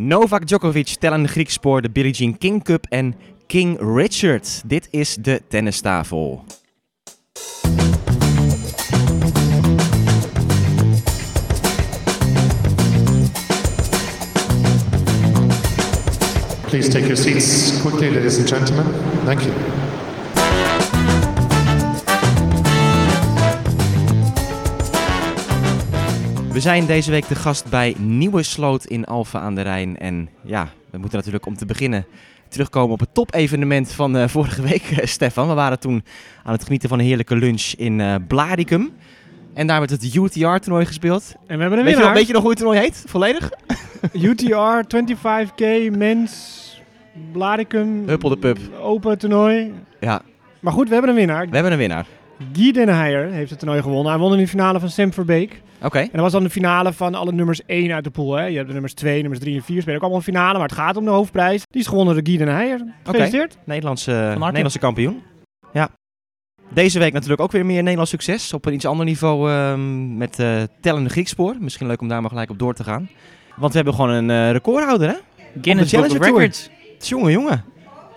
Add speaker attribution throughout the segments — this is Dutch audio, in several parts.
Speaker 1: Novak Djokovic tellen de Grieks spoor de Billie Jean King Cup en King Richard. Dit is de tennistafel.
Speaker 2: Please take your seats quickly, ladies and gentlemen. Thank you.
Speaker 1: We zijn deze week de gast bij Nieuwe Sloot in Alphen aan de Rijn. En ja, we moeten natuurlijk om te beginnen terugkomen op het topevenement van eh, vorige week, eh, Stefan. We waren toen aan het genieten van een heerlijke lunch in eh Blaricum. En daar werd het UTR-toernooi gespeeld.
Speaker 3: En we hebben
Speaker 1: Weet je,
Speaker 3: een
Speaker 1: nog,
Speaker 3: winnaar.
Speaker 1: weet je nog hoe het toernooi heet? Volledig?
Speaker 3: UTR 25k mens Blaricum
Speaker 1: Huppel de pup.
Speaker 3: open toernooi.
Speaker 1: Ja,
Speaker 3: Maar goed, we hebben een winnaar.
Speaker 1: we hebben een winnaar.
Speaker 3: Guy Den Heijer heeft het toernooi gewonnen. Hij won in de finale van Sam Verbeek. En
Speaker 1: Oké.
Speaker 3: dat was dan de finale van alle nummers 1 uit de pool. Hè. Je hebt de nummers 2, nummers 3 en 4 spelen ook allemaal een finale. Maar het gaat om de hoofdprijs. Die is gewonnen door Guy Den Heijer. Gefeliciteerd.
Speaker 1: Nederlandse, Nederlandse kampioen. Ja. Deze week natuurlijk ook weer meer Nederlands succes. Op een iets ander niveau ehm, met eh, tellende Griekspoor. Misschien leuk om daar maar gelijk op door te gaan. Want we hebben gewoon een eh, recordhouder, hè?
Speaker 4: Guinness Book of
Speaker 1: Challenger Tour.
Speaker 4: Records.
Speaker 1: Jongen, jongen.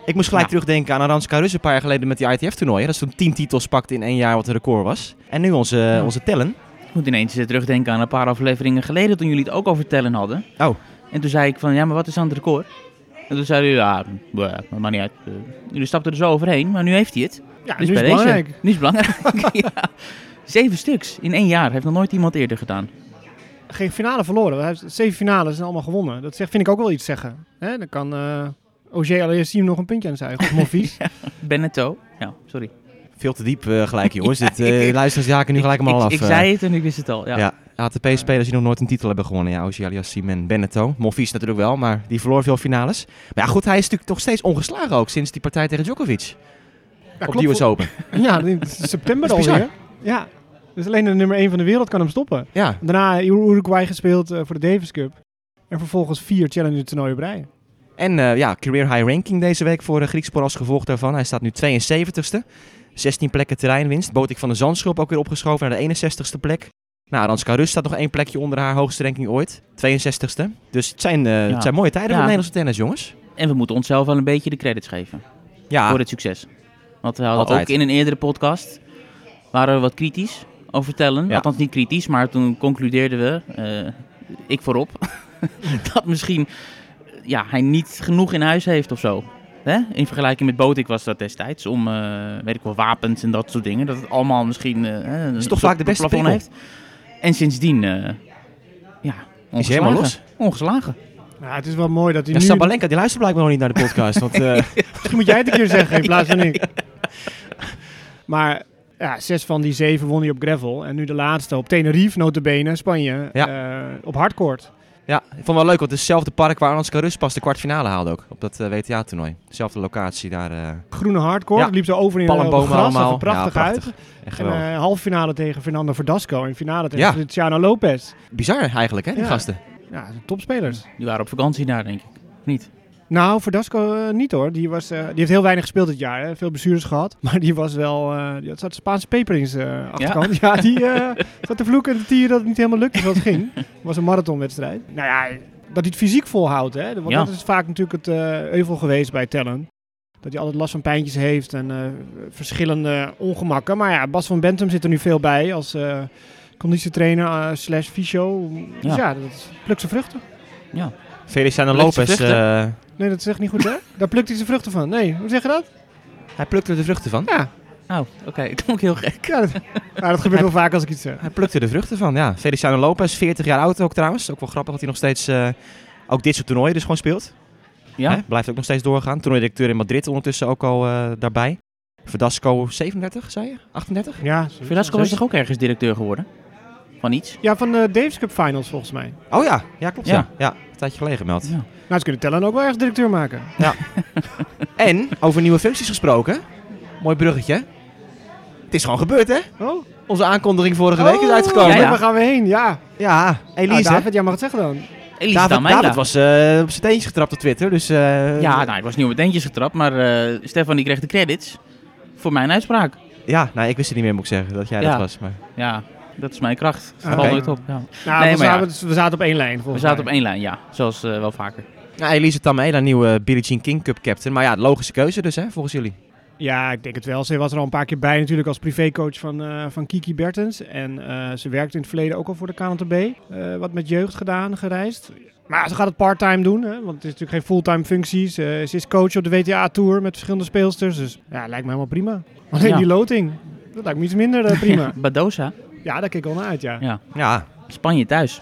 Speaker 1: Ik moest gelijk
Speaker 4: Ja.
Speaker 1: terugdenken aan Aranska Rus een paar jaar geleden met die ITF-toernooien. Dat ze toen tien titels pakte in één jaar, wat een record was. En nu onze,
Speaker 4: Ja.
Speaker 1: onze tellen.
Speaker 4: Ik moet ineens eens terugdenken aan een paar afleveringen geleden toen jullie het ook over tellen hadden.
Speaker 1: Oh.
Speaker 4: En toen zei ik van, ja, maar wat is dan het record? En toen zei hij, ja, bleh, dat maakt niet uit. Eh, Jullie stapten er zo overheen, maar nu heeft hij het.
Speaker 3: Ja,
Speaker 4: Dus
Speaker 3: nu is
Speaker 4: bij
Speaker 3: het belangrijk.
Speaker 4: Deze, nu is het belangrijk. ja. Zeven stuks in één jaar. Heeft nog nooit iemand eerder gedaan.
Speaker 3: Geen finale verloren. Hij heeft zeven finales en allemaal gewonnen. Dat zegt, vind ik ook wel iets zeggen. Hè? Dan kan eh OJ allereerst zien nog een puntje aan zijn eigen. Of Monfils.
Speaker 4: Benetto. Ja, sorry.
Speaker 1: Veel te diep eh, gelijk, jongens. Dit, eh,
Speaker 4: ik-
Speaker 1: luisteraars jaken nu gelijk
Speaker 4: ik,
Speaker 1: allemaal
Speaker 4: ik,
Speaker 1: af.
Speaker 4: Ik
Speaker 1: eh.
Speaker 4: zei het en ik wist het al. Ja.
Speaker 1: Ja, ATP-spelers die nog nooit een titel hebben gewonnen. Ja, Ogier Aliassim en Benetto. Monfils natuurlijk wel, maar die verloor veel finales. Maar ja, goed, hij is natuurlijk nog steeds ongeslagen ook sinds die partij tegen Djokovic.
Speaker 3: Ja,
Speaker 1: op
Speaker 3: klopt.
Speaker 1: de US Open.
Speaker 3: Ja, in september
Speaker 1: Dat is
Speaker 3: alweer. Ja, dus alleen de nummer 1 van de wereld kan hem stoppen.
Speaker 1: Ja,
Speaker 3: Daarna Ur- Uruguay gespeeld eh, voor de Davis Cup. En vervolgens vier Challenger toernooien op rij.
Speaker 1: en eh, ja, career high ranking deze week voor eh, Griekspoor als gevolg daarvan. Hij staat nu 72ste. 16 plekken terreinwinst. Botik van de Zandschulp ook weer opgeschoven naar de 61ste plek. Nou, Ranska Rus staat nog één plekje onder haar hoogste ranking ooit. 62ste. Dus het zijn, eh,
Speaker 4: Ja.
Speaker 1: het zijn mooie tijden
Speaker 4: Ja.
Speaker 1: voor Nederlandse tennis, jongens.
Speaker 4: En we moeten onszelf wel een beetje de credits geven
Speaker 1: Ja,
Speaker 4: voor het succes. Want we hadden
Speaker 1: Altijd.
Speaker 4: ook in een eerdere podcast, waren we wat kritisch over tellen.
Speaker 1: Ja.
Speaker 4: Althans niet kritisch, maar toen concludeerden we, eh, ik voorop, dat misschien eh, ja, hij niet genoeg in huis heeft of zo. Hè? In vergelijking met Botik was dat destijds, om eh, weet ik wel, wapens en dat soort dingen. Dat het allemaal misschien eh, hè, een
Speaker 1: is toch
Speaker 4: soort
Speaker 1: vaak de beste
Speaker 4: plafond
Speaker 1: prikkel.
Speaker 4: heeft. En sindsdien, eh, ja, ongeslagen.
Speaker 1: is helemaal los.
Speaker 4: Ongeslagen.
Speaker 3: Nou, het is wel mooi dat hij
Speaker 1: Ja,
Speaker 3: nu...
Speaker 1: Sabalenka, die luistert blijkbaar nog niet naar de podcast. Want eh,
Speaker 3: Misschien moet jij het een keer zeggen in plaats van ik. Maar ja, zes van die zeven won hij op gravel. En nu de laatste op Tenerife, notabene, Spanje. eh, op hardcourt.
Speaker 1: Ja, ik vond het wel leuk, want het is hetzelfde park waar Anska Rus pas de kwartfinale haalde ook. Op dat eh, WTA-toernooi. Dezelfde locatie daar. eh
Speaker 3: Groene hardcourt.
Speaker 1: Ja.
Speaker 3: Liep zo over in eh, op het
Speaker 1: palmbomen
Speaker 3: gras. Zag er
Speaker 1: allemaal.
Speaker 3: prachtig,
Speaker 1: ja,
Speaker 3: uit.
Speaker 1: Echt
Speaker 3: En
Speaker 1: geweldig.
Speaker 3: eh, halve finale tegen Fernando Verdasco. En finale tegen
Speaker 1: Ja.
Speaker 3: Luciano Lopez.
Speaker 1: Bizar eigenlijk, hè, die
Speaker 3: ja.
Speaker 1: gasten.
Speaker 3: Ja, dat zijn topspelers.
Speaker 4: Die waren op vakantie daar, denk ik. Niet.
Speaker 3: Nou, Verdasco eh, niet hoor. Die, was, eh, die heeft heel weinig gespeeld dit jaar. Hè. Veel blessures gehad. Maar die was wel... eh die had zat Spaanse peper in zijn eh, achterkant. Ja, die eh, zat te vloeken en te tieren dat het niet helemaal lukte zoals het ging. Het was een marathonwedstrijd. Nou ja, dat hij het fysiek volhoudt. Hè. Want
Speaker 4: Ja.
Speaker 3: dat is vaak natuurlijk het eh, euvel geweest bij Tellen. Dat hij altijd last van pijntjes heeft en eh, verschillende ongemakken. Maar ja, Bas van Bentum zit er nu veel bij als eh conditietrainer eh, slash fysio. Dus
Speaker 4: Ja.
Speaker 3: ja, dat is, pluk zijn vruchten.
Speaker 1: Feliciano
Speaker 4: Leuk te
Speaker 1: Lopez,
Speaker 4: vluchten.
Speaker 1: eh,
Speaker 3: Nee, dat is echt niet goed, hè? Daar plukt hij zijn vruchten van. Nee, hoe zeg je dat?
Speaker 1: hij plukte de vruchten van.
Speaker 3: Ja,
Speaker 4: Oh, oké. Dat klonk heel gek.
Speaker 3: ja dat, nou, dat gebeurt wel vaak als ik iets zeg.
Speaker 1: Hij plukte de vruchten van, ja. Feliciano Lopez, 40 jaar oud ook trouwens. Ook wel grappig dat hij nog steeds eh, ook dit soort toernooien dus gewoon speelt.
Speaker 4: Ja?
Speaker 1: Hè? Blijft ook nog steeds doorgaan. Toernooidirecteur in Madrid ondertussen ook al eh, daarbij. Verdasco 37, zei je? 38?
Speaker 3: Ja,
Speaker 4: Velasco was toch ook ergens directeur geworden? Van iets?
Speaker 3: Ja, van de Davis Cup Finals volgens mij.
Speaker 1: Oh ja, ja klopt ja.
Speaker 4: Ja.
Speaker 1: Ja, een tijdje geleden gemeld.
Speaker 4: Ja.
Speaker 3: Nou, ze kunnen Tellen ook wel ergens directeur maken.
Speaker 1: En over nieuwe functies gesproken. Mooi bruggetje. Het is gewoon gebeurd, hè?
Speaker 3: Oh,
Speaker 1: Onze aankondiging vorige week is
Speaker 3: Oh,
Speaker 1: uitgekomen.
Speaker 4: ja,
Speaker 3: ja,
Speaker 4: ja.
Speaker 3: waar gaan we heen? Ja.
Speaker 1: Ja,
Speaker 3: Nou,
Speaker 1: Elise.
Speaker 3: David, jij mag het zeggen dan.
Speaker 4: Elise
Speaker 1: David,
Speaker 4: Damela.
Speaker 1: David was eh, op zijn teentje getrapt op Twitter. Dus, eh,
Speaker 4: Ja, nou, ik was niet op het eentjes getrapt, maar eh, Stefan die kreeg de credits voor mijn uitspraak.
Speaker 1: ja nou, ik wist het niet meer, moet ik zeggen, dat jij
Speaker 4: Ja.
Speaker 1: dat was. Maar...
Speaker 4: Ja, dat is mijn kracht. Het
Speaker 3: Ah,
Speaker 4: valt
Speaker 3: oké.
Speaker 4: nooit op. Ja.
Speaker 3: Nou,
Speaker 4: Nee,
Speaker 3: we,
Speaker 4: maar ja.
Speaker 3: zaten, we zaten op één lijn
Speaker 4: We
Speaker 3: volgens
Speaker 4: zaten op
Speaker 3: mij.
Speaker 4: één lijn, ja. Zoals eh, wel vaker.
Speaker 1: Ja, Elise Tamela, nieuwe Billie Jean King Cup captain. Maar ja, logische keuze dus, hè, volgens jullie.
Speaker 3: Ja, ik denk het wel. Ze was er al een paar keer bij natuurlijk als privécoach van, eh, van Kiki Bertens. En eh, ze werkte in het verleden ook al voor de KNTB. eh, wat met jeugd gedaan, gereisd. Maar ze gaat het parttime doen, hè, want het is natuurlijk geen fulltime functie. Ze, ze is coach op de WTA-tour met verschillende speelsters. Dus ja, lijkt me helemaal prima. Alleen
Speaker 4: Ja.
Speaker 3: die loting, dat lijkt me iets minder eh, prima.
Speaker 4: Badosa,
Speaker 3: ja, daar kijk ik al naar uit, ja.
Speaker 4: Ja.
Speaker 1: Ja,
Speaker 4: Spanje thuis.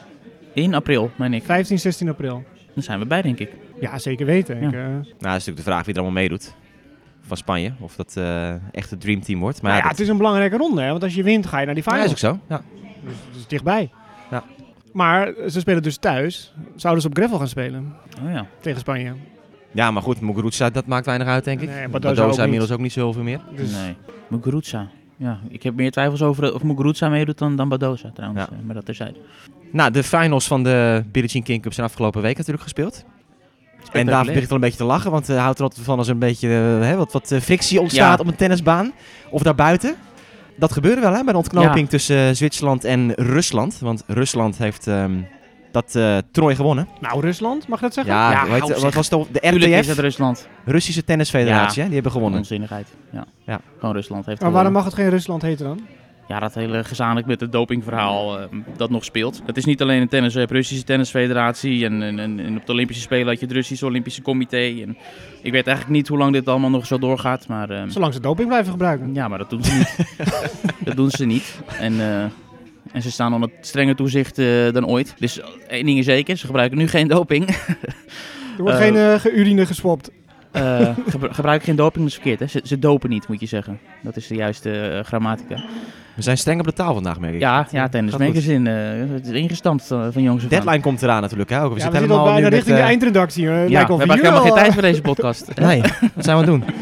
Speaker 4: In april, meen ik.
Speaker 3: 15, 16 april.
Speaker 4: Dan zijn we bij, denk ik.
Speaker 3: Ja, zeker weten.
Speaker 4: Ja.
Speaker 3: Ik, eh,
Speaker 1: nou is natuurlijk de vraag wie er allemaal meedoet. Van Spanje, of dat eh, echt het dreamteam wordt. Maar
Speaker 3: nou ja,
Speaker 1: ja,
Speaker 3: het
Speaker 1: dat,
Speaker 3: is een belangrijke ronde, hè, want als je wint ga je naar die
Speaker 1: ja,
Speaker 3: finals.
Speaker 1: is ook zo. Ja.
Speaker 3: Dus het is dichtbij.
Speaker 1: Ja.
Speaker 3: Maar ze spelen dus thuis. Zouden ze op Greffel gaan spelen
Speaker 4: Oh ja.
Speaker 3: tegen Spanje.
Speaker 1: ja, maar goed, Muguruza, dat maakt weinig uit, denk ik.
Speaker 3: Nee,
Speaker 1: Nee,
Speaker 3: en
Speaker 1: Badoza,
Speaker 3: Badoza ook niet.
Speaker 1: inmiddels ook niet zoveel meer.
Speaker 3: Dus
Speaker 4: Nee. Muguruza. Ja, ik heb meer twijfels over of Muguruza meedoet dan, dan Badosa trouwens.
Speaker 1: Ja.
Speaker 4: Eh, Maar dat terzijde.
Speaker 1: Nou, de finals van de Billie Jean King Cup zijn afgelopen week natuurlijk gespeeld. En daar
Speaker 4: Spectaculair.
Speaker 1: begint al een beetje te lachen, want eh, hij houdt er altijd van als er een beetje eh, hè, wat, wat eh, frictie ontstaat
Speaker 4: Ja.
Speaker 1: op een tennisbaan of daarbuiten. Dat gebeurde wel hè, bij de ontknoping tussen eh, Zwitserland en Rusland. Want Rusland heeft ehm, dat eh toernooi gewonnen.
Speaker 3: Nou, Rusland, mag ik dat zeggen?
Speaker 1: Ja,
Speaker 4: Ja,
Speaker 1: weet-
Speaker 4: hou
Speaker 1: wat
Speaker 4: zeg.
Speaker 1: was het? De
Speaker 4: Tuurlijk is het
Speaker 1: RTF,
Speaker 4: Rusland.
Speaker 1: Russische Tennisfederatie, hè, die hebben gewonnen.
Speaker 4: Onzinnigheid. Ja.
Speaker 1: Ja.
Speaker 4: Gewoon Rusland heeft
Speaker 3: Maar waarom
Speaker 4: gewonnen.
Speaker 3: mag het geen Rusland heten dan?
Speaker 4: Ja, dat hele gezamenlijk met het dopingverhaal eh, dat nog speelt. Het is niet alleen een tennis, je hebt Russische tennisfederatie en, en, en, en op de Olympische Spelen had je het Russische Olympische Comité. En ik weet eigenlijk niet hoe lang dit allemaal nog zo doorgaat, maar... ehm,
Speaker 3: Zolang ze doping blijven gebruiken.
Speaker 4: Ja, maar dat doen ze niet. dat doen ze niet. En, eh, en ze staan onder strenger toezicht eh, dan ooit. Dus één ding is zeker, ze gebruiken nu geen doping.
Speaker 3: Er wordt
Speaker 4: Eh,
Speaker 3: geen eh, ge- urine geswapt.
Speaker 4: Eh gebru- gebruik geen doping, dat is verkeerd. Hè? Ze, ze dopen niet, moet je zeggen. Dat is de juiste eh, grammatica.
Speaker 1: We zijn streng op de taal vandaag, merk ik.
Speaker 4: Ja, ja Tennis
Speaker 1: gaat goed.
Speaker 4: Magazine. eh, het is ingestampt eh, van jongs af aan.
Speaker 1: Deadline komt eraan natuurlijk. Hè, ook. We
Speaker 3: Ja,
Speaker 1: zitten
Speaker 3: we zitten al
Speaker 1: helemaal
Speaker 3: bijna
Speaker 1: nu met,
Speaker 3: richting de
Speaker 1: eh,
Speaker 3: eindredactie. eh, lijkt
Speaker 4: Ja, we
Speaker 3: wel
Speaker 4: hebben
Speaker 3: of
Speaker 4: eigenlijk helemaal geen
Speaker 3: hier
Speaker 4: tijd
Speaker 3: al-
Speaker 4: voor deze podcast.
Speaker 1: Nee, wat zijn we aan het doen?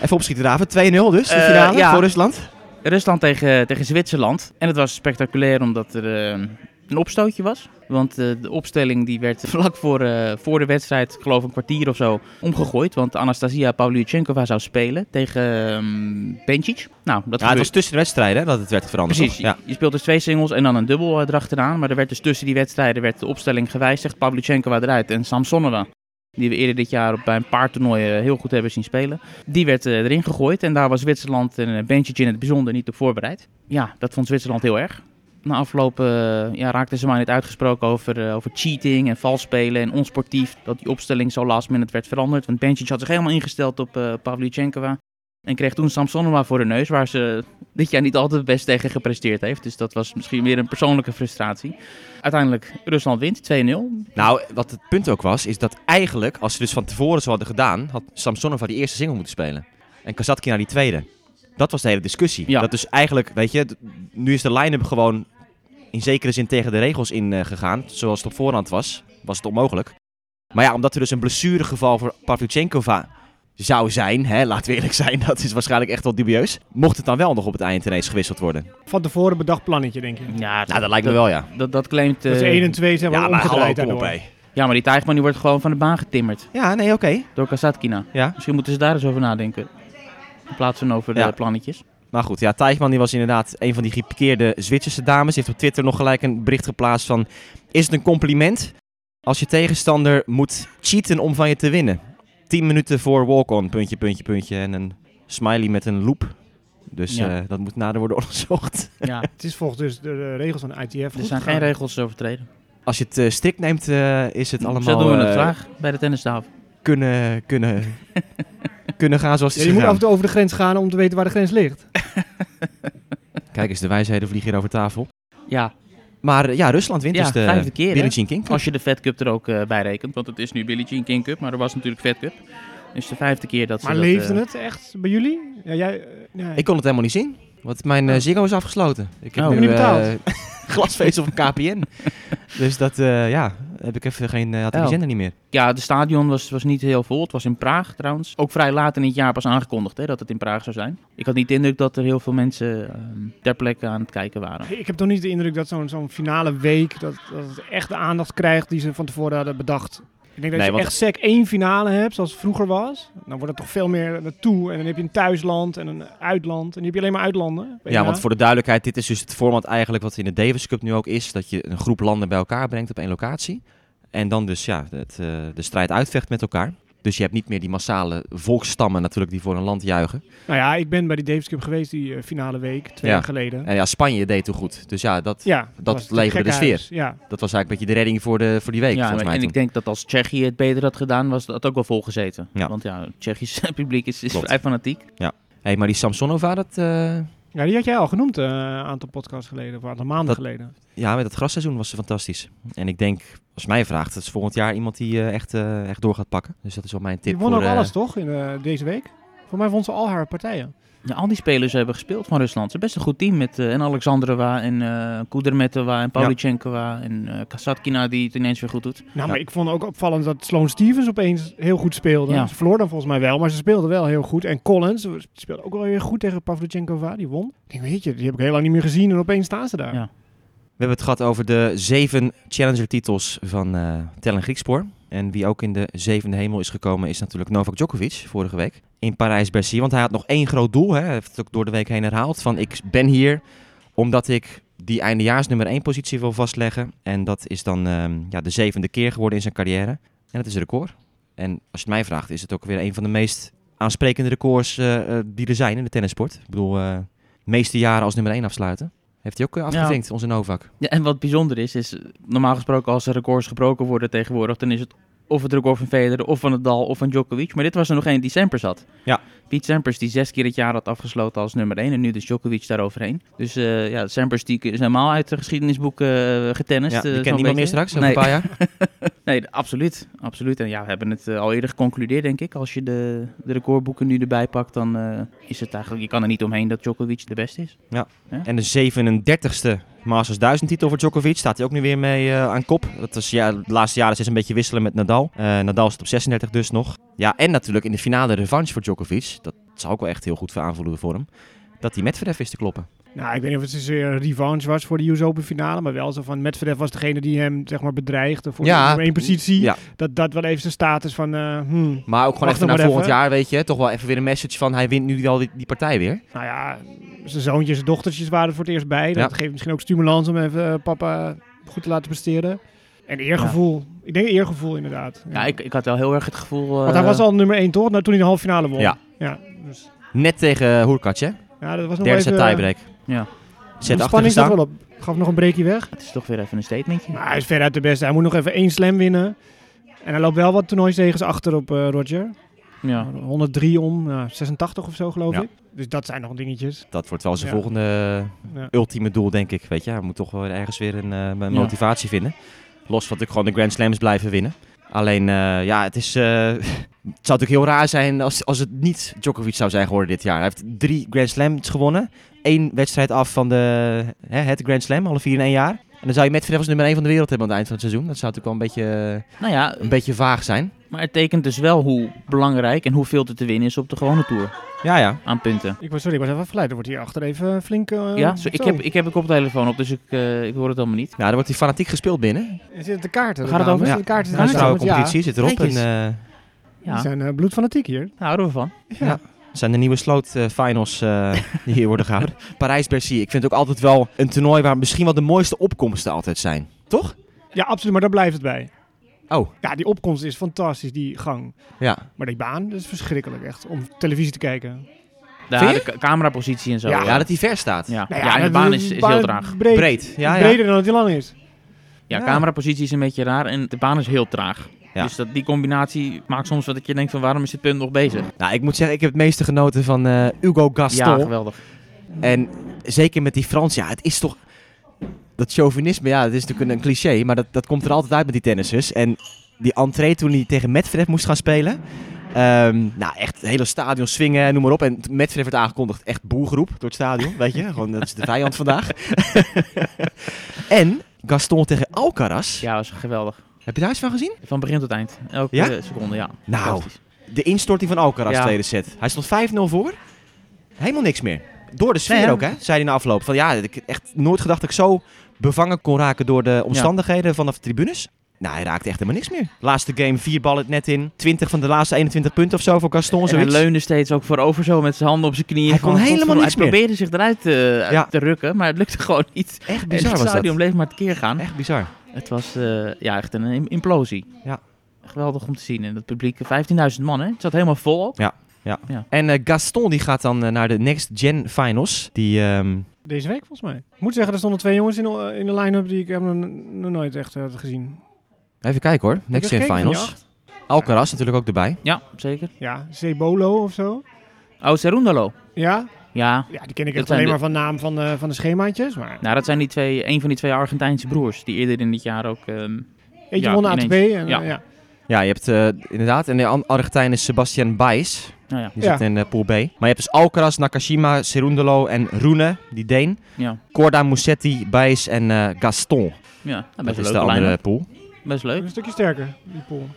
Speaker 1: Even opschieten, David. 2-0 dus, de
Speaker 4: Eh,
Speaker 1: finale
Speaker 4: ja.
Speaker 1: voor Rusland.
Speaker 4: Rusland tegen, tegen Zwitserland. En het was spectaculair omdat er eh, een opstootje was. Want eh, de opstelling die werd vlak voor, eh, voor de wedstrijd, ik geloof een kwartier of zo, omgegooid. Want Anastasia Pavlyuchenkova zou spelen tegen ehm Bencic.
Speaker 1: Ja, het
Speaker 4: Nou, dat gebeurde-
Speaker 1: was tussen de wedstrijden hè, dat het werd veranderd.
Speaker 4: Precies,
Speaker 1: toch? Ja.
Speaker 4: je speelt dus twee singles en dan een dubbel eh, erachteraan. Maar er werd dus tussen die wedstrijden werd de opstelling gewijzigd. Pavlyuchenkova eruit en Samsonova, die we eerder dit jaar op- bij een paar toernooien eh, heel goed hebben zien spelen. Die werd eh, erin gegooid en daar was Zwitserland en eh, Bencic in het bijzonder niet op voorbereid. Ja, dat vond Zwitserland heel erg. Na afloop eh, ja, raakten ze maar net uitgesproken over, eh, over cheating en vals spelen en onsportief. Dat die opstelling zo last minute werd veranderd. Want Bencic had zich helemaal ingesteld op eh Pavlyuchenkova. En kreeg toen Samsonova voor de neus, waar ze dit jaar niet altijd het best tegen gepresteerd heeft. Dus dat was misschien weer een persoonlijke frustratie. Uiteindelijk, Rusland wint 2-0.
Speaker 1: Nou, wat het punt ook was, is dat eigenlijk, als ze dus van tevoren zo hadden gedaan, had Samsonova die eerste single moeten spelen. En Kazatkin naar die tweede. Dat was de hele discussie.
Speaker 4: Ja.
Speaker 1: Dat dus eigenlijk, weet je, d- nu is de line-up gewoon in zekere zin tegen de regels ingegaan. gegaan. Zoals het op voorhand was, was het onmogelijk. Maar ja, omdat er dus een blessuregeval voor Pavlyuchenkova zou zijn, hè, laten we eerlijk zijn, dat is waarschijnlijk echt wel dubieus. Mocht het dan wel nog op het eind ineens gewisseld worden?
Speaker 3: Van tevoren bedacht plannetje, denk je.
Speaker 4: Ja,
Speaker 1: Nou, dat lijkt me wel, ja.
Speaker 4: Dat, dat claimt...
Speaker 3: Dat is
Speaker 4: eh,
Speaker 3: 1 en 2 zijn wel
Speaker 1: Ja, maar hallo,
Speaker 3: omgedraaid
Speaker 1: kom op,
Speaker 3: daardoor.
Speaker 1: hé.
Speaker 4: Ja, maar die Tijgman die wordt gewoon van de baan getimmerd
Speaker 1: Ja, nee, oké.
Speaker 4: door Kasatkina.
Speaker 1: Ja.
Speaker 4: Misschien moeten ze daar eens over nadenken. In plaats van over de
Speaker 1: Ja.
Speaker 4: plannetjes.
Speaker 1: Maar goed, ja, Teichman die was inderdaad een van die gepikeerde Zwitserse dames. Heeft op Twitter nog gelijk een bericht geplaatst van... Is het een compliment als je tegenstander moet cheaten om van je te winnen? 10 minuten voor walk-on, puntje, puntje, puntje. En een smiley met een loop. Dus
Speaker 4: Ja.
Speaker 1: eh, dat moet nader worden onderzocht.
Speaker 4: Ja,
Speaker 3: Het is volgens dus de, eh, regels van de ITF.
Speaker 4: er zijn geen regels overtreden.
Speaker 1: Als je het eh, strikt neemt, eh, is het allemaal...
Speaker 4: Zo doen we het
Speaker 1: eh,
Speaker 4: graag bij de tennistafel.
Speaker 1: kunnen, kunnen, kunnen gaan zoals het
Speaker 3: je
Speaker 1: is
Speaker 3: moet af
Speaker 1: gegaan.
Speaker 3: en toe over de grens gaan om te weten waar de grens ligt.
Speaker 1: Kijk eens, de wijsheden vliegen hier over tafel.
Speaker 4: Ja,
Speaker 1: Maar eh, ja, Rusland wint
Speaker 4: Ja,
Speaker 1: dus de
Speaker 4: vijfde keer, hè?
Speaker 1: Billie Jean King Cup.
Speaker 4: als je de Fed Cup er ook eh, bij rekent. Want het is nu Billie Jean King Cup, maar er was natuurlijk Fed Cup. Dus de vijfde keer dat ze
Speaker 3: Maar
Speaker 4: dat,
Speaker 3: leefde
Speaker 4: eh,
Speaker 3: het echt bij jullie? Ja, jij... eh, nee.
Speaker 1: Ik kon het helemaal niet zien. Want mijn eh, Ziggo is afgesloten. Ik heb
Speaker 4: Oh.
Speaker 1: nu
Speaker 3: Heb je niet
Speaker 1: eh,
Speaker 3: betaald?
Speaker 1: glasvezel van KPN. dus dat, eh, ja, heb ik even geen, eh, had ik die
Speaker 4: Oh.
Speaker 1: zender niet meer.
Speaker 4: Ja, de stadion was, was niet heel vol. Het was in Praag trouwens. Ook vrij laat in het jaar pas aangekondigd hè, dat het in Praag zou zijn. Ik had niet de indruk dat er heel veel mensen ehm, ter plekke aan het kijken waren.
Speaker 3: Ik heb toch niet de indruk dat zo'n zo'n finale week dat, dat het echt de aandacht krijgt die ze van tevoren hadden bedacht. Ik denk dat
Speaker 1: Nee,
Speaker 3: je
Speaker 1: want-
Speaker 3: echt SEC één finale hebt, zoals het vroeger was. Dan wordt het toch veel meer naartoe. En dan heb je een thuisland en een uitland. En dan heb je alleen maar uitlanden.
Speaker 1: Ja, want voor de duidelijkheid, dit is dus het format eigenlijk wat in de Davis Cup nu ook is. Dat je een groep landen bij elkaar brengt op één locatie. En dan dus ja, het, eh, de strijd uitvecht met elkaar. Dus je hebt niet meer die massale volksstammen natuurlijk die voor een land juichen.
Speaker 3: Nou ja, ik ben bij die Davis Cup geweest die eh, finale week, twee
Speaker 1: Ja.
Speaker 3: jaar geleden.
Speaker 1: En ja, Spanje deed toen goed. Dus ja, dat,
Speaker 3: Ja,
Speaker 1: dat
Speaker 3: was het
Speaker 1: leverde
Speaker 3: een
Speaker 1: de sfeer.
Speaker 3: gekhuis. Ja,
Speaker 1: dat was eigenlijk een beetje de redding voor, de, voor die week
Speaker 4: Ja,
Speaker 1: volgens mij
Speaker 4: en
Speaker 1: toen.
Speaker 4: ik denk dat als Tsjechië het beter had gedaan, was dat ook wel volgezeten.
Speaker 1: Ja.
Speaker 4: Want ja, het Tsjechisch publiek is, is
Speaker 1: Klopt.
Speaker 4: vrij fanatiek.
Speaker 1: hey, maar die Samsonova, dat, eh,
Speaker 3: ja, die had jij al genoemd eh, een aantal podcasts geleden, of een aantal maanden
Speaker 1: Dat-
Speaker 3: geleden.
Speaker 1: ja, met het grasseizoen was ze fantastisch. En ik denk, als mij vraagt, dat is volgend jaar iemand die eh, echt, eh, echt door gaat pakken. Dus dat is wel mijn tip
Speaker 3: Die won
Speaker 1: voor...
Speaker 3: ook
Speaker 1: eh,
Speaker 3: alles, toch, in, eh, deze week? Voor mij won ze al haar partijen.
Speaker 4: Ja, al die spelers hebben gespeeld van Rusland. Het is best een goed team met eh, en Alexandrova en eh Kudermetova en Pavlyuchenkova en eh Kasatkina die het ineens weer goed doet.
Speaker 3: Nou, maar ik vond ook opvallend dat Sloane Stevens opeens heel goed speelde.
Speaker 4: Ja.
Speaker 3: Ze verloor dan volgens mij wel, maar ze speelde wel heel goed. En Collins eh, speelde ook wel weer goed tegen Pavlyuchenkova, die won. Ik denk, weet je, die heb ik heel lang niet meer gezien en opeens staan ze daar.
Speaker 4: Ja.
Speaker 1: We hebben het gehad over de zeven Challenger-titels van eh Tellen Griekspoor. En wie ook in de zevende hemel is gekomen is natuurlijk Novak Djokovic vorige week in Parijs-Bercy. Want hij had nog één groot doel. Hè. Hij heeft het ook door de week heen herhaald. Van ik ben hier omdat ik die eindejaars nummer één positie wil vastleggen. En dat is dan ehm, ja, de zevende keer geworden in zijn carrière. En dat is een record. En als je het mij vraagt is het ook weer een van de meest aansprekende records eh, eh, die er zijn in de tennissport. Ik bedoel, eh, de meeste jaren als nummer één afsluiten. Heeft hij ook eh, afgevinkt, onze Novak.
Speaker 4: Ja, en wat bijzonder is, is eh, normaal gesproken als er records gebroken worden tegenwoordig, dan is het of het record van Federer, of van Nadal, of van Djokovic. Maar dit was er nog één die Sampras had.
Speaker 1: Ja.
Speaker 4: Piet Sampras die zes keer het jaar had afgesloten als nummer één en nu dus Djokovic daaroverheen. Dus eh, ja, Sampras die is helemaal uit de geschiedenisboeken eh getennist.
Speaker 1: Ja,
Speaker 4: eh,
Speaker 1: die
Speaker 4: zo'n
Speaker 1: kent niemand meer
Speaker 4: beetje.
Speaker 1: straks, over
Speaker 4: Nee.
Speaker 1: een paar jaar.
Speaker 4: Nee, absoluut. absoluut. En ja, we hebben het eh, al eerder geconcludeerd, denk ik. Als je de, de recordboeken nu erbij pakt, dan eh, is het eigenlijk... Je kan er niet omheen dat Djokovic de beste is.
Speaker 1: En de 37e Masters 1000 titel voor Djokovic. Staat hij ook nu weer mee eh, aan kop. Dat is ja, de laatste jaren is een beetje wisselen met Nadal. Eh, Nadal zit op 36 dus nog. Ja, en natuurlijk in de finale revanche voor Djokovic. Dat zou ook wel echt heel goed voor aanvoelen voor hem. Dat hij Medvedev is te kloppen.
Speaker 3: Nou, ik weet niet of het zozeer een revanche was voor de US Open finale, maar wel zo van Medvedev was degene die hem zeg maar bedreigde voor
Speaker 1: Ja.
Speaker 3: de nummer één positie.
Speaker 1: Ja.
Speaker 3: Dat dat wel even zijn status van, eh, hmm.
Speaker 1: Maar ook gewoon even
Speaker 3: Wacht nog
Speaker 1: naar
Speaker 3: maar
Speaker 1: volgend
Speaker 3: even.
Speaker 1: jaar, weet je. Toch wel even weer een message van hij wint nu al die, die partij weer.
Speaker 3: nou ja, zijn zoontjes en dochtertjes waren er voor het eerst bij. Dat
Speaker 1: Ja.
Speaker 3: geeft misschien ook stimulans om even eh, papa goed te laten presteren. En eergevoel. Ik denk eergevoel inderdaad.
Speaker 4: Ja, ik, ik had wel heel erg het gevoel... eh,
Speaker 3: Want hij was al nummer 1 toch? Nou, toen hij de halve finale won.
Speaker 1: Ja.
Speaker 3: Ja, dus,
Speaker 1: Net tegen Hoerkac, hè.
Speaker 3: ja dat was nog
Speaker 1: Derde
Speaker 3: even... eh,
Speaker 1: set tiebreak.
Speaker 4: Ja.
Speaker 1: Zet
Speaker 3: de
Speaker 1: achter
Speaker 3: spanning zat
Speaker 1: gestaan.
Speaker 3: wel op. Gaf nog een breakje weg.
Speaker 4: Het is toch weer even een statementje.
Speaker 3: Maar hij is veruit de beste. Hij moet nog even één slam winnen. En hij loopt wel wat toernooizegens achter op eh, Roger.
Speaker 4: Ja.
Speaker 3: 103 om nou, 86 of zo geloof
Speaker 1: Ja.
Speaker 3: ik. Dus dat zijn nog dingetjes.
Speaker 1: Dat wordt wel zijn
Speaker 3: Ja.
Speaker 1: volgende
Speaker 3: Ja.
Speaker 1: ultieme doel, denk ik. Weet je, hij moet toch wel ergens weer een, eh, een
Speaker 4: Ja.
Speaker 1: motivatie vinden. Los van dat ik gewoon de Grand Slams blijven winnen. Alleen, eh, ja, het is. eh, het zou natuurlijk heel raar zijn als, als het niet Djokovic zou zijn geworden dit jaar. Hij heeft drie Grand Slams gewonnen. Eén wedstrijd af van de, hè, het Grand Slam, alle vier in één jaar. En dan zou je Medvedev als nummer één van de wereld hebben aan het eind van het seizoen. Dat zou natuurlijk wel een beetje,
Speaker 4: Nou ja,
Speaker 1: een beetje vaag zijn.
Speaker 4: maar het tekent dus wel hoe belangrijk en hoeveel er te winnen is op de gewone Tour.
Speaker 1: Ja, ja.
Speaker 4: Aan punten.
Speaker 3: Ik was, sorry, ik was even verleid. Er wordt hier achter even flink... eh,
Speaker 4: ja, zo, ik,
Speaker 3: zo.
Speaker 4: heb, ik heb een koptelefoon op, dus ik, eh, ik hoor het allemaal niet.
Speaker 1: Ja, dan wordt hij fanatiek gespeeld binnen.
Speaker 3: Er zitten de kaarten.
Speaker 4: Waar gaat het
Speaker 3: dames.
Speaker 4: over?
Speaker 3: De kaarten
Speaker 1: De
Speaker 4: Ja,
Speaker 3: zitten
Speaker 1: vrouwen
Speaker 3: er, want ja,
Speaker 1: competitie zit erop. En,
Speaker 4: Kijk eens.
Speaker 1: eh,
Speaker 4: Ja,
Speaker 3: Die
Speaker 4: daar
Speaker 3: zijn eh, bloedfanatiek hier.
Speaker 4: houden we van.
Speaker 1: zijn de nieuwe sloot eh, finals eh, die hier worden gehouden. Parijs-Bercy. Ik vind het ook altijd wel een toernooi waar misschien wel de mooiste opkomsten altijd zijn. Toch?
Speaker 3: Ja, absoluut. Maar daar blijft het bij.
Speaker 1: Oh,
Speaker 3: Ja, die opkomst is fantastisch, die gang.
Speaker 1: ja.
Speaker 3: Maar die baan, dat is verschrikkelijk echt. Om televisie te kijken.
Speaker 1: Vind
Speaker 4: Ja,
Speaker 1: je?
Speaker 4: de ca- camerapositie en zo.
Speaker 3: Ja.
Speaker 1: Ja, dat hij ver staat.
Speaker 4: ja.
Speaker 3: Nou
Speaker 4: Ja, en de
Speaker 3: dat-
Speaker 4: baan is, is heel traag.
Speaker 3: Breed.
Speaker 1: Breed. Ja, ja.
Speaker 3: Breder dan dat die lang is.
Speaker 4: Ja,
Speaker 1: Ja.
Speaker 4: camerapositie is een beetje raar en de baan is heel traag.
Speaker 1: Ja.
Speaker 4: Dus dat, die combinatie maakt soms dat ik je denkt van waarom is dit punt nog bezig?
Speaker 1: Nou, ik moet zeggen, ik heb het meeste genoten van eh, Hugo
Speaker 4: Ja,
Speaker 1: Gaston.
Speaker 4: geweldig.
Speaker 1: en zeker met die Frans. Ja, het is toch... Dat chauvinisme, ja, dat is natuurlijk een, een cliché. Maar dat, dat komt er altijd uit met die tennissers. En die entree toen hij tegen Medvedev moest gaan spelen. Ehm, nou, echt het hele stadion swingen, en noem maar op. En toen Medvedev werd aangekondigd, echt boelgeroep door het stadion, weet je. Gewoon, dat is de vijand vandaag. en Gaston tegen Alcaraz.
Speaker 4: Ja, was geweldig.
Speaker 1: Heb je daar iets van gezien?
Speaker 4: Van begin tot eind. Elke
Speaker 1: Ja?
Speaker 4: eh, seconde, ja.
Speaker 1: Nou.
Speaker 4: Fantastisch.
Speaker 1: De instorting van Alcaraz,
Speaker 4: Ja.
Speaker 1: tweede set. Hij stond 5-0 voor. Helemaal niks meer. Door de sfeer
Speaker 4: Nee, hè?
Speaker 1: ook, hè? Zei hij in de afloop. Van ja, ik heb echt nooit gedacht dat ik zo bevangen kon raken door de omstandigheden vanaf de tribunes. Nou, hij raakt echt helemaal niks meer. Laatste game, vier ballen het net in. 20 van de laatste 21 punten of zo voor Gaston.
Speaker 4: en hij
Speaker 1: zoiets.
Speaker 4: leunde steeds ook voorover zo met zijn handen op zijn knieën.
Speaker 1: Hij kon
Speaker 4: Gewoon,
Speaker 1: helemaal
Speaker 4: godverdomme,
Speaker 1: niks meer.
Speaker 4: Hij probeerde zich eruit eh, uit
Speaker 1: Ja.
Speaker 4: te rukken, maar het lukte gewoon niet.
Speaker 1: Echt
Speaker 4: En
Speaker 1: bizar
Speaker 4: het
Speaker 1: was
Speaker 4: stadion
Speaker 1: dat.
Speaker 4: bleef maar tekeer gaan.
Speaker 1: Echt bizar.
Speaker 4: Het was eh, ja, echt een im- implosie.
Speaker 1: Ja.
Speaker 4: Geweldig om te zien. En dat publiek, 15.000 man hè. Het zat helemaal vol op.
Speaker 1: En eh, Gaston die gaat dan eh, naar de Next Gen Finals. Die, ehm,
Speaker 3: Deze week volgens mij. Ik moet zeggen, er stonden twee jongens in, de- eh, in de line-up die ik heb nog, nog nooit echt eh, had gezien.
Speaker 1: even kijken hoor.
Speaker 3: Heb
Speaker 1: Next
Speaker 3: je
Speaker 1: Gen
Speaker 3: gekeken van die
Speaker 1: Finals. Alcaraz natuurlijk ook erbij.
Speaker 4: Ja, zeker.
Speaker 3: Ja, Cebolo of zo.
Speaker 4: Oh, Serundalo.
Speaker 3: Ja,
Speaker 4: Ja.
Speaker 3: ja die ken ik
Speaker 4: Dat
Speaker 3: echt
Speaker 4: zijn
Speaker 3: alleen
Speaker 4: de-
Speaker 3: maar van naam van de, van de schemaatjes. Maar
Speaker 4: Nou, dat zijn die twee, een van die twee Argentijnse broers die eerder in dit jaar ook... ehm,
Speaker 3: eentje
Speaker 4: Ja,
Speaker 3: won de ATP. En,
Speaker 4: ineens.
Speaker 3: eh,
Speaker 4: Ja.
Speaker 3: ja.
Speaker 1: Ja, je hebt eh, inderdaad. En de an- Argentijn is Sebastian Baez.
Speaker 4: nou ja,
Speaker 1: Die
Speaker 3: Ja.
Speaker 1: zit in eh, Pool B. Maar je hebt dus Alcaraz, Nakashima, Cerundolo en Rune, die Deen.
Speaker 4: ja.
Speaker 1: Corda, Musetti, Baez en eh, Gaston.
Speaker 4: ja. Nou,
Speaker 1: Dat
Speaker 4: best
Speaker 1: is
Speaker 4: een
Speaker 1: de
Speaker 4: leuke
Speaker 1: andere
Speaker 4: line-up.
Speaker 1: pool.
Speaker 4: Best leuk.
Speaker 3: Een stukje sterker, die pool.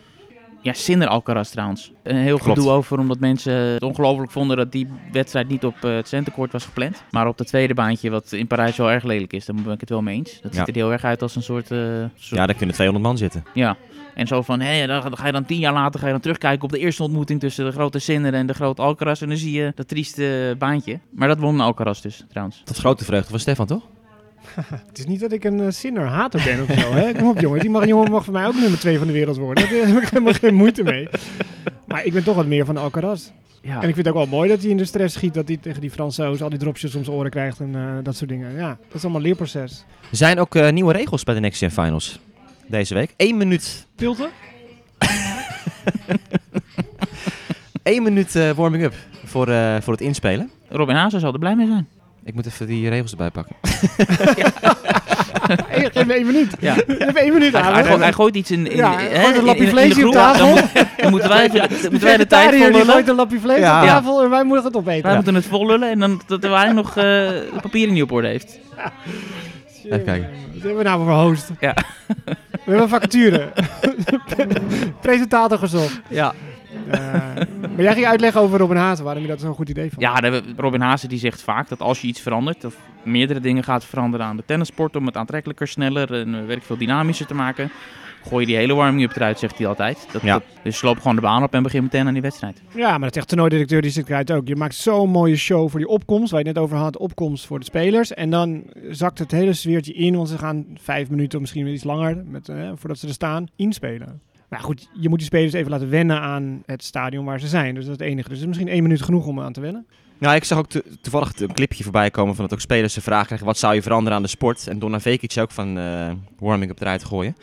Speaker 4: Ja, Sinder Alcaraz trouwens. Een heel
Speaker 1: Klopt.
Speaker 4: gedoe over omdat mensen het ongelooflijk vonden dat die wedstrijd niet op eh, het centenkoord was gepland. Maar op dat tweede baantje, wat in Parijs wel erg lelijk is, daar ben ik het wel mee eens. Dat
Speaker 1: Ja.
Speaker 4: ziet er heel erg uit als een soort... eh, soort-
Speaker 1: Ja, daar kunnen 200 man zitten.
Speaker 4: Ja. En zo van, hé, dan ga- dan ga je dan tien jaar later ga je dan terugkijken op de eerste ontmoeting tussen de grote Sinner en de grote Alcaraz. En dan zie je dat trieste baantje. Maar dat won Alcaraz dus, trouwens.
Speaker 1: Tot grote vreugde van Stefan, toch?
Speaker 3: Het is niet dat ik een eh, zinner hater ben of zo. Hè? Kom op jongens, die mag, jongen mag voor mij ook nummer 2 van de wereld worden. Daar heb ik helemaal geen moeite mee. Maar ik ben toch wat meer van Alcaraz.
Speaker 4: Ja.
Speaker 3: En ik vind het ook wel mooi dat hij in de stress schiet. Dat hij tegen die Fransoos al die dropjes om zijn oren krijgt en eh, dat soort dingen. Ja, dat is allemaal leerproces.
Speaker 1: Er zijn ook eh, nieuwe regels bij de Next Gen Finals deze week. Eén minuut,
Speaker 3: Pilte?
Speaker 1: één minuut eh, warming-up voor, eh, voor het inspelen.
Speaker 4: Robin Haase zal er blij mee zijn.
Speaker 1: Ik moet even die regels erbij pakken.
Speaker 3: Geef me één minuut.
Speaker 4: Ja.
Speaker 3: Even één minuut
Speaker 4: Hij,
Speaker 3: aan.
Speaker 4: hij,
Speaker 3: hè?
Speaker 4: gooit- hij gooit iets in, in,
Speaker 3: Ja,
Speaker 4: hè,
Speaker 3: hij gooit een
Speaker 4: in-
Speaker 3: lapje
Speaker 4: in- in
Speaker 3: vlees
Speaker 4: de
Speaker 3: hier op
Speaker 4: groep.
Speaker 3: tafel.
Speaker 4: Dan, moet- dan moeten wij, even- dan moeten wij de tijd
Speaker 3: vegetariër
Speaker 4: voor
Speaker 3: die
Speaker 4: lullen.
Speaker 3: gooit een lapje vlees
Speaker 1: Ja.
Speaker 3: op tafel en wij moeten het
Speaker 4: Wij
Speaker 3: opeten.
Speaker 4: moeten het vol lullen en dan dat hij nog eh, de papieren niet op orde heeft.
Speaker 1: Even kijken.
Speaker 3: Wat hebben we nou voor host?
Speaker 4: Ja.
Speaker 3: We hebben een vacature. Presentator gezocht.
Speaker 4: Ja,
Speaker 3: Eh, maar jij ging uitleggen over Robin Hazen, waarom je dat zo'n goed idee vond.
Speaker 4: ja daar hebben we- Robin Haase die zegt vaak dat als je iets verandert, dat meerdere dingen gaat veranderen aan de tennissport om het aantrekkelijker, sneller en eh, werk veel dynamischer te maken. Gooi je die hele warming-up eruit, zegt hij altijd. Dat,
Speaker 1: Ja.
Speaker 4: dat- dus loop gewoon de baan op en begin meteen aan die wedstrijd.
Speaker 3: Ja, maar dat zegt toernooidirecteur die zit eruit ook. Je maakt zo'n mooie show voor die opkomst, waar je het net over had, de opkomst voor de spelers. En dan zakt het hele sfeertje in, want ze gaan vijf minuten, misschien wel iets langer, met, eh, voordat ze er staan, inspelen. Maar goed, je moet die spelers even laten wennen aan het stadion waar ze zijn. Dus dat is het enige. Dus het is misschien één minuut genoeg om aan te wennen.
Speaker 1: Nou, ik zag ook to- toevallig een clipje voorbij komen van dat ook spelers de vraag krijgen... wat zou je veranderen aan de sport? En Donna Vekic zei ook van eh, warming-up eruit gooien.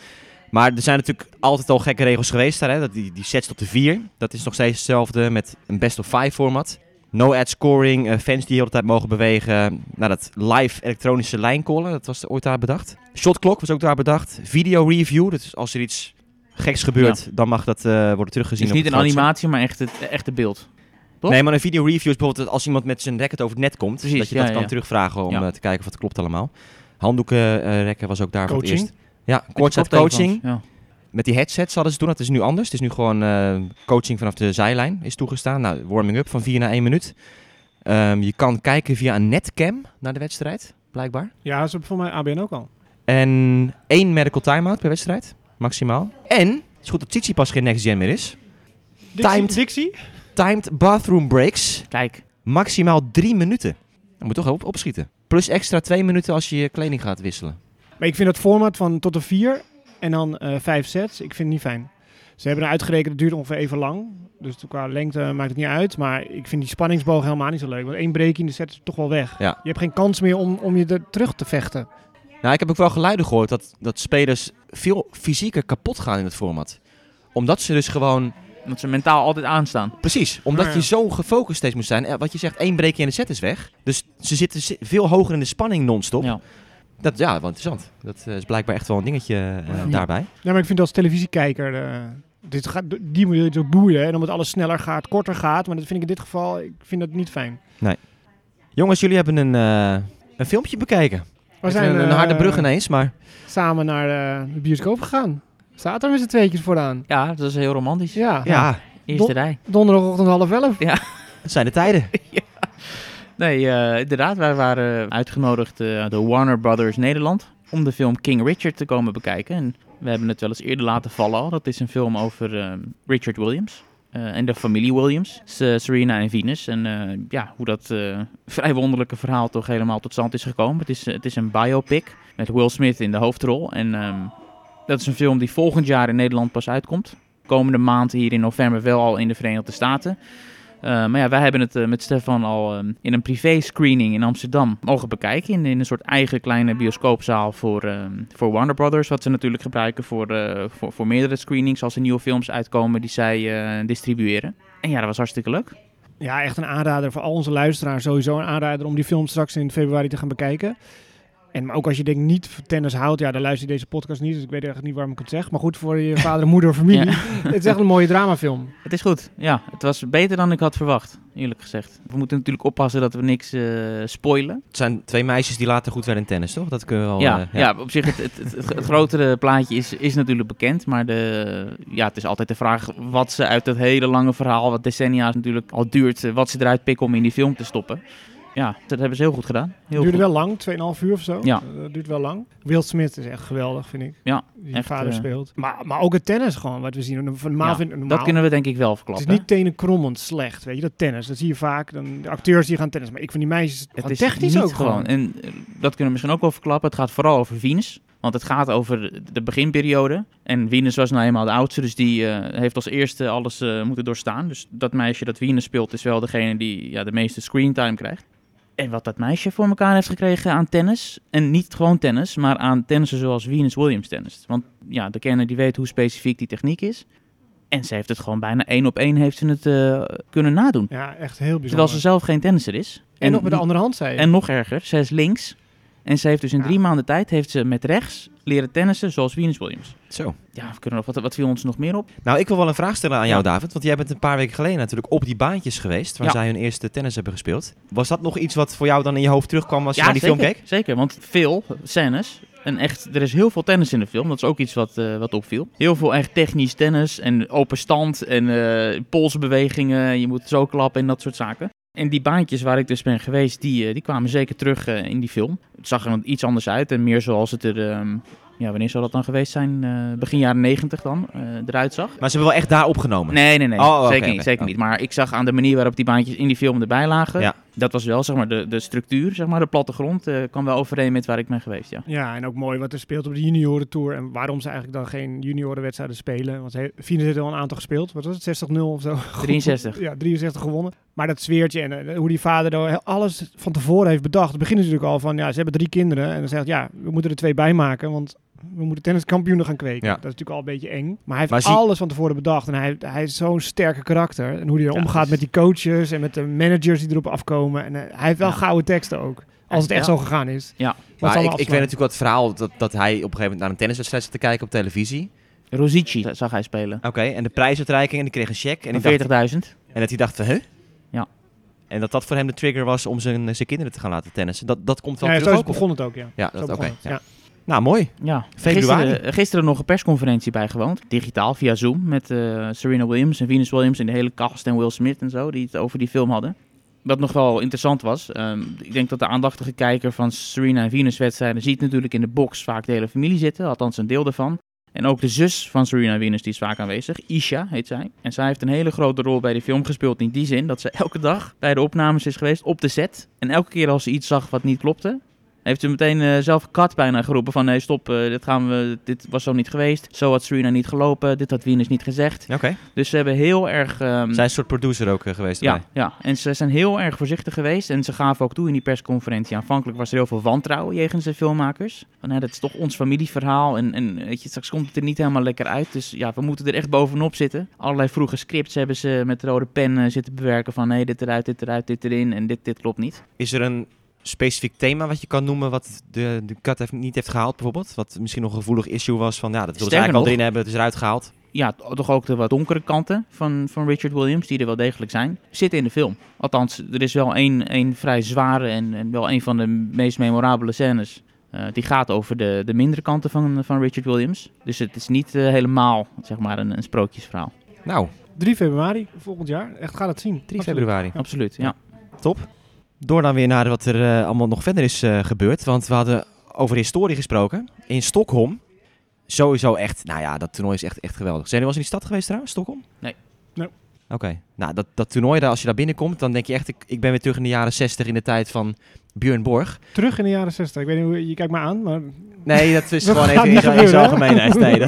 Speaker 1: Maar er zijn natuurlijk altijd al gekke regels geweest daar. Hè? Dat die, die sets tot de vier, dat is nog steeds hetzelfde met een best-of-five format. No-ad scoring, eh, fans die de hele tijd mogen bewegen. Nou, dat live elektronische lijncallen, dat was ooit daar bedacht. Shotklok was ook daar bedacht. Video review, dus als er iets geks gebeurt, dan mag dat eh, worden
Speaker 4: Het
Speaker 1: teruggezien.
Speaker 4: is
Speaker 1: op
Speaker 4: Dus niet
Speaker 1: het
Speaker 4: een
Speaker 1: grootste.
Speaker 4: animatie, maar echt het echte beeld. Toch?
Speaker 1: Nee, maar een video review is bijvoorbeeld dat als iemand met zijn racket over het net komt.
Speaker 4: Precies,
Speaker 1: dat je
Speaker 4: ja,
Speaker 1: dat
Speaker 4: ja,
Speaker 1: kan
Speaker 4: ja.
Speaker 1: terugvragen om
Speaker 4: Ja.
Speaker 1: eh, te kijken of het klopt allemaal. Handdoekenrekken was ook daar voor het
Speaker 3: Coaching?
Speaker 1: eerst. Ja, courtside
Speaker 4: Koptelefoons,
Speaker 1: coaching.
Speaker 4: Ja.
Speaker 1: Met die headsets hadden ze toen, dat is nu anders. Het is nu gewoon eh, coaching vanaf de zijlijn is toegestaan. Nou, warming-up van 4 naar 1 minuut. Ehm, je kan kijken via een netcam naar de wedstrijd, blijkbaar.
Speaker 3: Ja, dat is voor mij ABN ook al.
Speaker 1: En één medical timeout per wedstrijd, maximaal. En, het is goed dat Titi pas geen next-gen meer is. Timed.
Speaker 3: Dixie?
Speaker 1: Timed bathroom breaks.
Speaker 4: Kijk,
Speaker 1: Maximaal drie minuten. Dan moet toch op opschieten. Plus extra twee minuten als je je kleding gaat wisselen.
Speaker 3: Maar ik vind dat format van tot de vier en dan eh, vijf sets, ik vind het niet fijn. Ze hebben er uitgerekend, het duurt ongeveer even lang. Dus qua lengte maakt het niet uit. Maar ik vind die spanningsboog helemaal niet zo leuk. Want één break in de set is toch wel weg.
Speaker 1: Ja.
Speaker 3: Je hebt geen kans meer om, om je er terug te vechten.
Speaker 1: Nou, ik heb ook wel geluiden gehoord dat, dat spelers veel fysieker kapot gaan in het format. Omdat ze dus gewoon...
Speaker 4: omdat ze mentaal altijd aanstaan.
Speaker 1: Precies, omdat
Speaker 3: Ja.
Speaker 1: je zo gefocust steeds moet zijn. Eh, Wat je zegt, één breekje in de set is weg. Dus ze zitten zi- veel hoger in de spanning non-stop.
Speaker 4: Ja.
Speaker 1: Dat, ja, wel interessant. Dat eh, is blijkbaar echt wel een dingetje eh,
Speaker 3: Ja.
Speaker 1: daarbij.
Speaker 3: Ja, maar ik vind als televisiekijker, eh, dit gaat, die moet je zo boeien. En omdat alles sneller gaat, korter gaat. Maar dat vind ik in dit geval, ik vind dat niet fijn.
Speaker 1: Jongens, jullie hebben een, eh, een filmpje bekeken.
Speaker 3: We
Speaker 1: Even een, een
Speaker 3: eh,
Speaker 1: harde brug ineens, maar...
Speaker 3: samen naar eh, de bioscoop gegaan. Staat er met z'n tweetjes vooraan.
Speaker 4: Ja, dat is heel romantisch.
Speaker 3: Ja,
Speaker 1: Ja,
Speaker 4: Eerste
Speaker 3: Dom-
Speaker 4: rij.
Speaker 3: donderdagochtend half elf.
Speaker 1: het zijn de tijden.
Speaker 4: Nee, eh, inderdaad. Wij waren uitgenodigd eh, door Warner Brothers Nederland om de film King Richard te komen bekijken. En We hebben het wel eens eerder laten vallen al. Dat is een film over eh, Richard Williams. eh, en de familie Williams, S- eh, Serena en Venus. En eh, ja, hoe dat eh, vrij wonderlijke verhaal toch helemaal tot stand is gekomen. Het is, eh, het is een biopic met Will Smith in de hoofdrol. En ehm, dat is een film die volgend jaar in Nederland pas uitkomt. Komende maand hier in november wel al in de Verenigde Staten. Eh, maar ja, wij hebben het eh, met Stefan al ehm, in een privé-screening in Amsterdam mogen bekijken. In, in een soort eigen kleine bioscoopzaal voor, ehm, voor Warner Brothers. Wat ze natuurlijk gebruiken voor, eh, voor, voor meerdere screenings als er nieuwe films uitkomen die zij eh, distribueren. En ja, dat was hartstikke leuk.
Speaker 3: Ja, echt een aanrader voor al onze luisteraars. Sowieso een aanrader om die film straks in februari te gaan bekijken. En maar ook als je denkt niet van tennis houdt, ja, dan luister je deze podcast niet. Dus ik weet echt niet waarom ik het zeg. Maar goed voor je vader, moeder, familie.
Speaker 4: Ja.
Speaker 3: Het is echt een mooie dramafilm.
Speaker 4: Het is goed. Ja, het was beter dan ik had verwacht, eerlijk gezegd. We moeten natuurlijk oppassen dat we niks eh, spoilen.
Speaker 1: Het zijn twee meisjes die later goed werden in tennis, toch? Dat kunnen we wel...
Speaker 4: ja,
Speaker 1: eh,
Speaker 4: ja. op zich, het, het, het, het grotere plaatje is, is natuurlijk bekend. Maar de, ja, het is altijd de vraag wat ze uit dat hele lange verhaal, wat decennia natuurlijk al duurt, eh, wat ze eruit pikken om in die film te stoppen. Ja, dat hebben ze heel goed gedaan. Heel
Speaker 3: duurde
Speaker 4: goed.
Speaker 3: wel lang, 2,5 uur of zo.
Speaker 4: Ja.
Speaker 3: Dat duurt wel lang. Will Smith is echt geweldig, vind ik.
Speaker 4: Ja,
Speaker 3: Die
Speaker 4: echt,
Speaker 3: vader
Speaker 4: eh,
Speaker 3: speelt. Maar, maar ook het tennis gewoon, wat we zien. Normaal
Speaker 4: Ja,
Speaker 3: vind, normaal,
Speaker 4: Dat kunnen we denk ik wel
Speaker 3: het
Speaker 4: verklappen.
Speaker 3: is niet tenenkrommend slecht, weet je. Dat tennis, dat zie je vaak. Dan, de acteurs die gaan tennis. Maar ik van die meisjes,
Speaker 4: Het
Speaker 3: het
Speaker 4: is
Speaker 3: technisch
Speaker 4: niet
Speaker 3: ook gewoon.
Speaker 4: En eh, dat kunnen we misschien ook wel verklappen. Het gaat vooral over Venus. Want het gaat over de beginperiode. En Venus was nou eenmaal de oudste, dus die eh, heeft als eerste alles eh, moeten doorstaan. Dus dat meisje dat Venus speelt is wel degene die ja, de meeste screentime krijgt. En wat dat meisje voor elkaar heeft gekregen aan tennis. En niet gewoon tennis, maar aan tennissen zoals Venus Williams tennist. Want ja, de kenner die weet hoe specifiek die techniek is. En ze heeft het gewoon bijna één op één heeft ze het eh, kunnen nadoen.
Speaker 3: Ja, echt heel
Speaker 4: Terwijl
Speaker 3: bijzonder.
Speaker 4: ze zelf geen tennisser is.
Speaker 3: en, nog met de andere hand, zei je.
Speaker 4: En nog erger, zij is links. En ze heeft dus in
Speaker 3: Ja.
Speaker 4: drie maanden tijd heeft ze met rechts leren tennissen zoals Venus Williams.
Speaker 1: Zo.
Speaker 4: Ja, we kunnen nog, wat, wat viel ons nog meer op?
Speaker 1: Nou, ik wil wel een vraag stellen aan jou,
Speaker 4: Ja.
Speaker 1: David. Want jij bent een paar weken geleden natuurlijk op die baantjes geweest... waar
Speaker 4: Ja.
Speaker 1: zij hun eerste tennis hebben gespeeld. Was dat nog iets wat voor jou dan in je hoofd terugkwam als je naar die
Speaker 4: zeker,
Speaker 1: film keek?
Speaker 4: Zeker, want veel scènes. En echt, er is heel veel tennis in de film. Dat is ook iets wat, eh, wat opviel. Heel veel echt technisch tennis en open stand en eh polsbewegingen. Je moet zo klappen en dat soort zaken. En die baantjes waar ik dus ben geweest, die, eh, die kwamen zeker terug eh, in die film. Het zag er dan iets anders uit en meer zoals het er... ehm, ja, wanneer zou dat dan geweest zijn? Eh, begin jaren negentig dan, eh, eruit zag.
Speaker 1: Maar ze hebben wel echt daar opgenomen.
Speaker 4: Nee, nee, nee.
Speaker 1: Oh, oké,
Speaker 4: zeker
Speaker 1: oké.
Speaker 4: niet, zeker
Speaker 1: Oh.
Speaker 4: niet. Maar ik zag aan de manier waarop die baantjes in die film erbij lagen.
Speaker 1: Ja.
Speaker 4: Dat was wel zeg maar, de, de structuur, zeg maar, de plattegrond. eh kwam wel overeen met waar ik ben geweest. Ja.
Speaker 3: Ja, en ook mooi wat er speelt op de junioren tour. En waarom ze eigenlijk dan geen juniorenwedstrijden spelen. Want he- Venus heeft er al een aantal gespeeld. Wat was het? 60-0 of zo?
Speaker 4: 63.
Speaker 3: Ja, 63 gewonnen. Maar dat zweertje en eh, hoe die vader daar alles van tevoren heeft bedacht. Het begint natuurlijk al van, ja, ze hebben drie kinderen. En dan zegt ja, we moeten er twee bij maken, want we moeten tenniskampioenen gaan kweken.
Speaker 1: Ja.
Speaker 3: Dat is natuurlijk al een beetje eng. Maar hij
Speaker 1: Maar
Speaker 3: heeft
Speaker 1: zie-
Speaker 3: alles van tevoren bedacht. En hij, hij is zo'n sterke karakter. En hoe hij
Speaker 4: Ja,
Speaker 3: omgaat
Speaker 4: dus-
Speaker 3: met die coaches en met de managers die erop afkomen. En eh, hij heeft wel
Speaker 4: Ja.
Speaker 3: gouden teksten ook. Als het echt
Speaker 4: Ja.
Speaker 3: zo gegaan is.
Speaker 4: Ja.
Speaker 3: Wat
Speaker 1: Maar
Speaker 3: zal
Speaker 1: ik, ik
Speaker 3: afslaan?
Speaker 1: weet natuurlijk wel het verhaal dat, dat hij op een gegeven moment naar een tenniswedstrijd zat te kijken op televisie.
Speaker 4: Rosici eh, zag hij spelen.
Speaker 1: Oké, en de prijsuitreiking en die kreeg een cheque. En, ik
Speaker 4: En
Speaker 1: dacht,
Speaker 4: 40.000.
Speaker 1: en dat hij dacht van, hè?
Speaker 4: Ja.
Speaker 1: En dat dat voor hem de trigger was om zijn, zijn kinderen te gaan laten tennissen. Dat, dat komt wel
Speaker 3: Ja, zo
Speaker 1: terug
Speaker 3: is
Speaker 1: ook,
Speaker 3: het
Speaker 1: of-
Speaker 3: begon het ook, ja.
Speaker 1: Ja,
Speaker 3: Zo
Speaker 1: dat, oké.
Speaker 3: begon het,
Speaker 1: ja.
Speaker 3: ja.
Speaker 1: Nou, mooi.
Speaker 4: Ja.
Speaker 1: Februari.
Speaker 4: Gisteren, gisteren nog een persconferentie bijgewoond. Digitaal, via Zoom. Met eh, Serena Williams en Venus Williams en de hele cast en Will Smith en zo. Die het over die film hadden. Wat nog wel interessant was. ehm, ik denk dat de aandachtige kijker van Serena en Venus wedstrijden ziet natuurlijk in de box vaak de hele familie zitten. Althans een deel daarvan. En ook de zus van Serena Venus die is vaak aanwezig. Isha heet zij. En zij heeft een hele grote rol bij de film gespeeld. In die zin dat ze elke dag bij de opnames is geweest op de set. En elke keer als ze iets zag wat niet klopte, heeft ze meteen eh, zelf kat bijna geroepen van nee stop, eh, dit, gaan we, dit was zo niet geweest. Zo had Serena niet gelopen, dit had Venus niet gezegd.
Speaker 1: Oké.
Speaker 4: Dus ze hebben heel erg... ehm,
Speaker 1: Zij is een soort producer ook eh, geweest.
Speaker 4: ja,
Speaker 1: erbij.
Speaker 4: ja, en ze zijn heel erg voorzichtig geweest en ze gaven ook toe in die persconferentie. Aanvankelijk was er heel veel wantrouwen jegens de filmmakers. Van, hè, dat is toch ons familieverhaal en, en weet je, straks komt het er niet helemaal lekker uit. Dus ja, we moeten er echt bovenop zitten. Allerlei vroege scripts hebben ze met rode pen eh, zitten bewerken van nee, dit eruit, dit eruit, dit erin en dit, dit klopt niet.
Speaker 1: Is er een specifiek thema wat je kan noemen wat de, de kat heeft, niet heeft gehaald bijvoorbeeld? Wat misschien nog een gevoelig issue was van, ja, dat wil ze
Speaker 4: Sterker
Speaker 1: eigenlijk al
Speaker 4: nog-
Speaker 1: erin hebben, het is eruit gehaald.
Speaker 4: ja, t- toch ook de wat donkere kanten van, van Richard Williams, die er wel degelijk zijn, zitten in de film. Althans, er is wel één, één vrij zware en, en wel een van de meest memorabele scènes. eh, die gaat over de, de mindere kanten van, van Richard Williams. Dus het is niet eh, helemaal zeg maar, een, een sprookjesverhaal.
Speaker 1: Nou,
Speaker 3: 3 februari volgend jaar. Echt, ga dat zien.
Speaker 1: 3
Speaker 3: Absoluut.
Speaker 1: februari.
Speaker 4: Absoluut, ja.
Speaker 1: Door dan weer naar wat er eh, allemaal nog verder is eh, gebeurd. Want we hadden over historie gesproken. In Stockholm Sowieso echt, nou ja, dat toernooi is echt, echt geweldig. Zijn jullie wel eens in die stad geweest trouwens, Stockholm?
Speaker 4: Nee.
Speaker 3: Nee.
Speaker 1: Oké, nou dat, dat toernooi daar, als je daar binnenkomt, dan denk je echt, ik, ik ben weer terug in de jaren 60 in de tijd van Björn Borg.
Speaker 3: Terug in de jaren 60. Ik weet niet hoe je kijkt me aan, maar
Speaker 1: Nee, dat is
Speaker 3: Dat
Speaker 1: gewoon
Speaker 3: gaat
Speaker 1: even in
Speaker 3: niet
Speaker 1: zijn- in
Speaker 3: gebeuren,
Speaker 1: zijn
Speaker 3: hè?
Speaker 1: algemeenheid. Nee,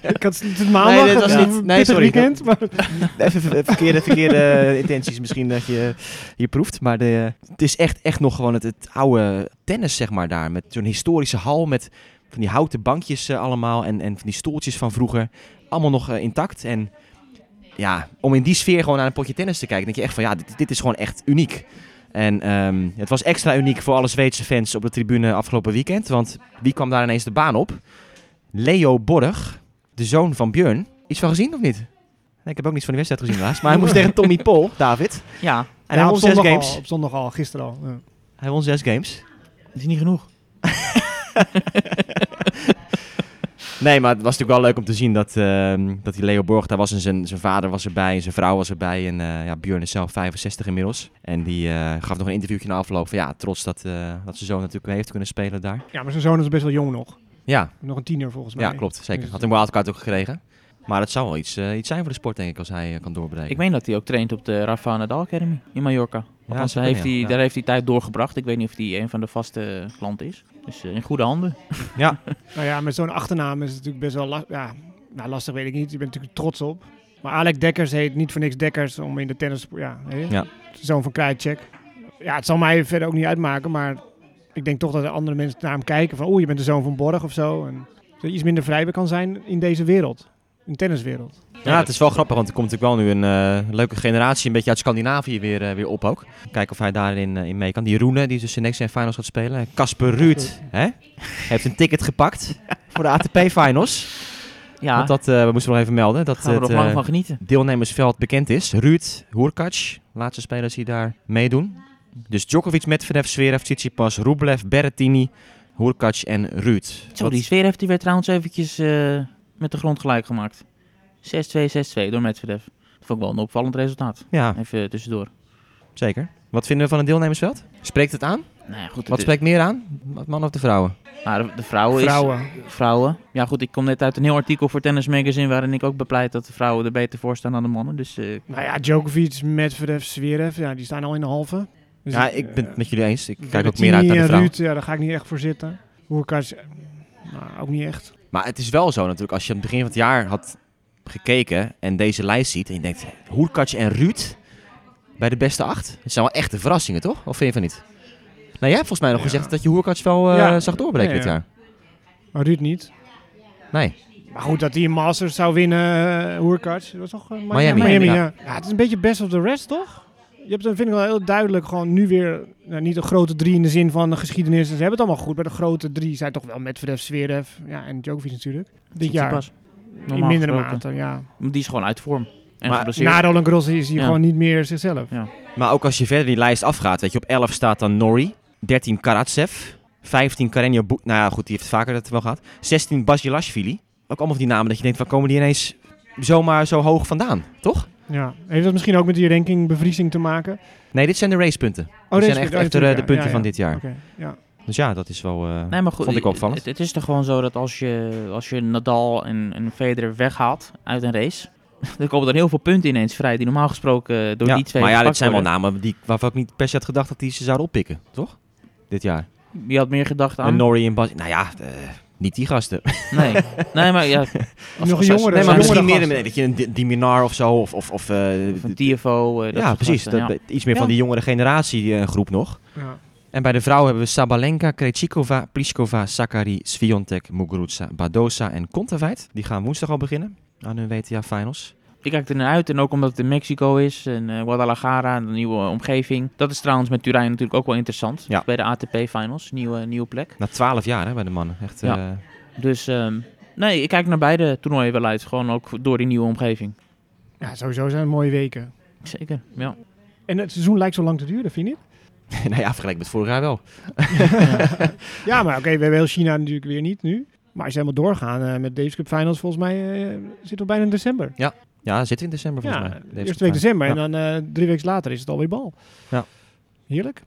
Speaker 1: dat,
Speaker 3: ik had het is maandag.
Speaker 1: Nee, dit was
Speaker 3: eh,
Speaker 1: niet- nee,
Speaker 3: pittig
Speaker 1: sorry.
Speaker 3: weekend, maar
Speaker 1: Even ver- verkeerde, verkeerde intenties misschien dat je hier proeft. Maar de, het is echt, echt nog gewoon het, het oude tennis, zeg maar, daar. Met zo'n historische hal met van die houten bankjes eh, allemaal en, en van die stoeltjes van vroeger. Allemaal nog eh, intact. En ja, om in die sfeer gewoon naar een potje tennis te kijken, denk je echt van ja, dit, dit is gewoon echt uniek. En ehm, het was extra uniek voor alle Zweedse fans op de tribune afgelopen weekend. Want wie kwam daar ineens de baan op? Leo Borg, de zoon van Björn. Iets van gezien of niet? Nee, ik heb ook niets van die wedstrijd gezien helaas. Maar hij moest tegen Tommy Paul, David.
Speaker 4: Ja,
Speaker 1: En hij
Speaker 3: Ja, op
Speaker 1: won zes
Speaker 3: zondag
Speaker 1: games.
Speaker 3: Al, op zondag al, gisteren al. Ja.
Speaker 1: Hij won zes games.
Speaker 4: dat is niet genoeg.
Speaker 1: Nee, maar het was natuurlijk wel leuk om te zien dat, ehm, dat die Leo Borg daar was. En zijn, zijn vader was erbij en zijn vrouw was erbij. En eh, ja, Björn is zelf 65 inmiddels. En die eh, gaf nog een interviewtje na afloop van ja, trots dat, eh, dat zijn zoon natuurlijk mee heeft kunnen spelen daar.
Speaker 3: Ja, maar zijn zoon is best wel jong nog.
Speaker 1: Ja,
Speaker 3: Nog een tiener volgens mij.
Speaker 1: ja klopt. Zeker.
Speaker 3: Dus-
Speaker 1: Had een wildcard ook gekregen. Maar het zou wel iets, eh, iets zijn voor de sport, denk ik, als hij eh, kan doorbreken.
Speaker 4: Ik meen dat hij ook traint op de Rafa Nadal Academy in Mallorca. Althans,
Speaker 1: zou
Speaker 4: daar, heeft hij,
Speaker 1: kunnen, ja.
Speaker 4: daar heeft hij tijd doorgebracht. Ik weet niet of hij een van de vaste klanten is. Dus eh, in goede handen.
Speaker 3: Nou ja, met zo'n achternaam is het natuurlijk best wel lastig. Ja, nou, lastig weet ik niet. Je bent natuurlijk trots op. Maar Alec Dekkers heet niet voor niks Dekkers om in de tennis... Ja, hè?
Speaker 1: Ja.
Speaker 3: zoon van Krajicek. Ja, het zal mij verder ook niet uitmaken, maar ik denk toch dat er andere mensen naar hem kijken. Van, oeh, je bent de zoon van Borg of zo. En dat je iets minder vrij weer kan zijn in deze wereld. In de tenniswereld.
Speaker 1: Ja, het is wel grappig, want er komt natuurlijk wel nu een eh, leuke generatie een beetje uit Scandinavië weer, eh, weer op ook. Kijken of hij daarin eh, in mee kan. Die Roene, die dus de next en finals gaat spelen. Casper Ruud, hè? heeft een ticket gepakt voor de ATP finals.
Speaker 4: Ja,
Speaker 1: Want
Speaker 4: daar
Speaker 1: dat, eh, we moesten nog even melden, dat
Speaker 4: gaan we
Speaker 1: het
Speaker 4: nog lang
Speaker 1: eh,
Speaker 4: van genieten.
Speaker 1: deelnemersveld bekend is. Ruud, Hurkacz, laatste spelers die daar meedoen. Dus Djokovic, Medvedev, Zverev, Tsitsipas, Rublev, Berrettini, Hurkacz en Ruud.
Speaker 4: Zo,
Speaker 1: Wat-
Speaker 4: die sfeer heeft hij weer trouwens eventjes eh, met de grond gelijk gemaakt. 6-2, 6-2 door Medvedev. Dat vond ik wel een opvallend resultaat.
Speaker 1: Ja,
Speaker 4: Even eh, tussendoor.
Speaker 1: zeker. Wat vinden we van het deelnemersveld? Spreekt het aan?
Speaker 4: Nou ja, goed.
Speaker 1: Wat
Speaker 4: het-
Speaker 1: spreekt meer aan? Mannen of de vrouwen?
Speaker 4: maar de, de vrouwen,
Speaker 3: Vrouwen.
Speaker 4: is... Vrouwen. Ja goed, ik kom net uit een heel artikel voor Tennis Magazine... waarin ik ook bepleit dat de vrouwen er beter voor staan dan de mannen. Dus eh,
Speaker 3: Nou ja, Djokovic, Medvedev, Zverev. Ja, die staan al in de halve. Dus
Speaker 1: Ja, ik ben het met jullie eens. Ik
Speaker 3: eh,
Speaker 1: kijk ook
Speaker 3: Berrettini
Speaker 1: meer uit naar de
Speaker 3: en
Speaker 1: vrouw.
Speaker 3: Ruud, ja, daar ga ik niet echt voor zitten. Hoerkaars, nou, ook niet echt.
Speaker 1: Maar het is wel zo natuurlijk, als je aan het begin van het jaar had gekeken en deze lijst ziet en je denkt, Hoerkatje en Ruud bij de beste acht. Het zijn wel echte verrassingen, toch? Of vind je van niet? Nou, jij hebt volgens mij nog
Speaker 3: Ja.
Speaker 1: gezegd dat je Hoerkatje wel eh,
Speaker 3: Ja.
Speaker 1: zag doorbreken
Speaker 3: Ja,
Speaker 1: dit jaar.
Speaker 3: Maar Ruud niet.
Speaker 1: Nee.
Speaker 3: Maar goed, dat hij een Masters zou winnen, Hoerkarts. Dat was toch eh, Mi-
Speaker 1: Miami.
Speaker 3: Miami,
Speaker 1: Miami,
Speaker 3: ja. ja. het is een beetje best of the rest, toch? Je hebt dan, vind ik wel heel duidelijk, gewoon nu weer... Nou, niet de grote drie in de zin van de geschiedenis. Ze hebben het allemaal goed, maar de grote drie zijn toch wel Medvedev, Zverev ja, en Djokovic natuurlijk. Dit jaar,
Speaker 4: Tsitsipas.
Speaker 3: in
Speaker 4: Normaal
Speaker 3: mindere
Speaker 4: gesproken.
Speaker 3: mate, ja.
Speaker 4: Die is gewoon uit vorm. En
Speaker 1: Maar
Speaker 4: geblesseerd.
Speaker 3: Na Roland Garros is hij
Speaker 4: Ja.
Speaker 3: gewoon niet meer zichzelf.
Speaker 1: Maar ook als je verder die lijst afgaat, weet je, op 11 staat dan Nori, 13 Karatsev, 15 Karenio Boek. Nou ja, goed, die heeft vaker dat wel gehad. 16 Basilashvili. Ook allemaal van die namen dat je denkt, waar komen die ineens zomaar zo hoog vandaan, toch?
Speaker 3: Ja. Heeft dat misschien ook met die rankingbevriezing te maken?
Speaker 1: Nee, dit zijn de racepunten.
Speaker 3: Oh,
Speaker 1: dit
Speaker 3: deze-
Speaker 1: zijn echt,
Speaker 3: oh,
Speaker 1: echt de, de
Speaker 3: natuurlijk,
Speaker 1: punten
Speaker 3: ja, ja,
Speaker 1: van
Speaker 3: ja.
Speaker 1: dit jaar.
Speaker 3: Oké, ja.
Speaker 1: Dus ja, dat is wel. eh,
Speaker 4: Nee, maar goed,
Speaker 1: vond ik opvallend.
Speaker 4: Het, het is toch gewoon zo dat als je, als je Nadal en, en Federer weghaalt uit een race, dan komen er heel veel punten ineens vrij die normaal gesproken eh, door
Speaker 1: ja.
Speaker 4: die twee
Speaker 1: maar ja, dit
Speaker 4: gepakt
Speaker 1: zijn wel
Speaker 4: worden.
Speaker 1: namen die, waarvan ik niet per se had gedacht dat die ze zouden oppikken, toch? Dit jaar.
Speaker 4: Je had meer gedacht
Speaker 1: En
Speaker 4: aan...
Speaker 1: Norrie en Bas. Nou ja, eh, niet die gasten.
Speaker 4: nee. nee, maar ja,
Speaker 3: Nog een jongere.
Speaker 4: als-
Speaker 1: nee, maar
Speaker 4: zijn
Speaker 1: misschien
Speaker 3: jongere
Speaker 1: meer
Speaker 3: gasten.
Speaker 1: nee, dat je een Di- Diminar of zo. Of, of, of, eh,
Speaker 4: van TFO. eh, dat
Speaker 1: ja,
Speaker 4: soort
Speaker 1: precies.
Speaker 4: gasten,
Speaker 1: dat-
Speaker 4: ja.
Speaker 1: Iets meer van
Speaker 3: Ja.
Speaker 1: die jongere generatie eh, groep nog.
Speaker 3: Ja.
Speaker 1: En bij de vrouwen hebben we Sabalenka, Krejcikova, Pliskova, Sakari, Sviontek, Muguruza, Badosa en Kontaveit. Die gaan woensdag al beginnen aan hun WTA Finals.
Speaker 4: Ik kijk er naar uit en ook omdat het in Mexico is en eh, Guadalajara, een nieuwe eh, omgeving. Dat is trouwens met Turijn natuurlijk ook wel interessant.
Speaker 1: Ja.
Speaker 4: Bij de ATP Finals, nieuwe, nieuwe plek.
Speaker 1: Na twaalf jaar hè, bij de mannen. Echt,
Speaker 4: Ja.
Speaker 1: eh,
Speaker 4: Dus ehm, nee, ik kijk naar beide toernooien wel uit. Gewoon ook door die nieuwe omgeving.
Speaker 3: ja, sowieso zijn het mooie weken.
Speaker 4: Zeker, ja.
Speaker 3: En het seizoen lijkt zo lang te duren, vind je niet?
Speaker 1: nou ja, vergeleken met vorig jaar wel.
Speaker 3: Ja, maar oké, we hebben heel China natuurlijk weer niet nu. Maar als je helemaal doorgaan eh, met Davis Cup Finals, volgens mij eh, zitten we bijna in december.
Speaker 1: Ja, zit in december volgens
Speaker 3: ja, eh,
Speaker 1: mij. Deze
Speaker 3: eerste week
Speaker 1: partij.
Speaker 3: december.
Speaker 1: Ja.
Speaker 3: En dan eh, drie weken later is het alweer bal.
Speaker 1: Ja.
Speaker 3: Heerlijk.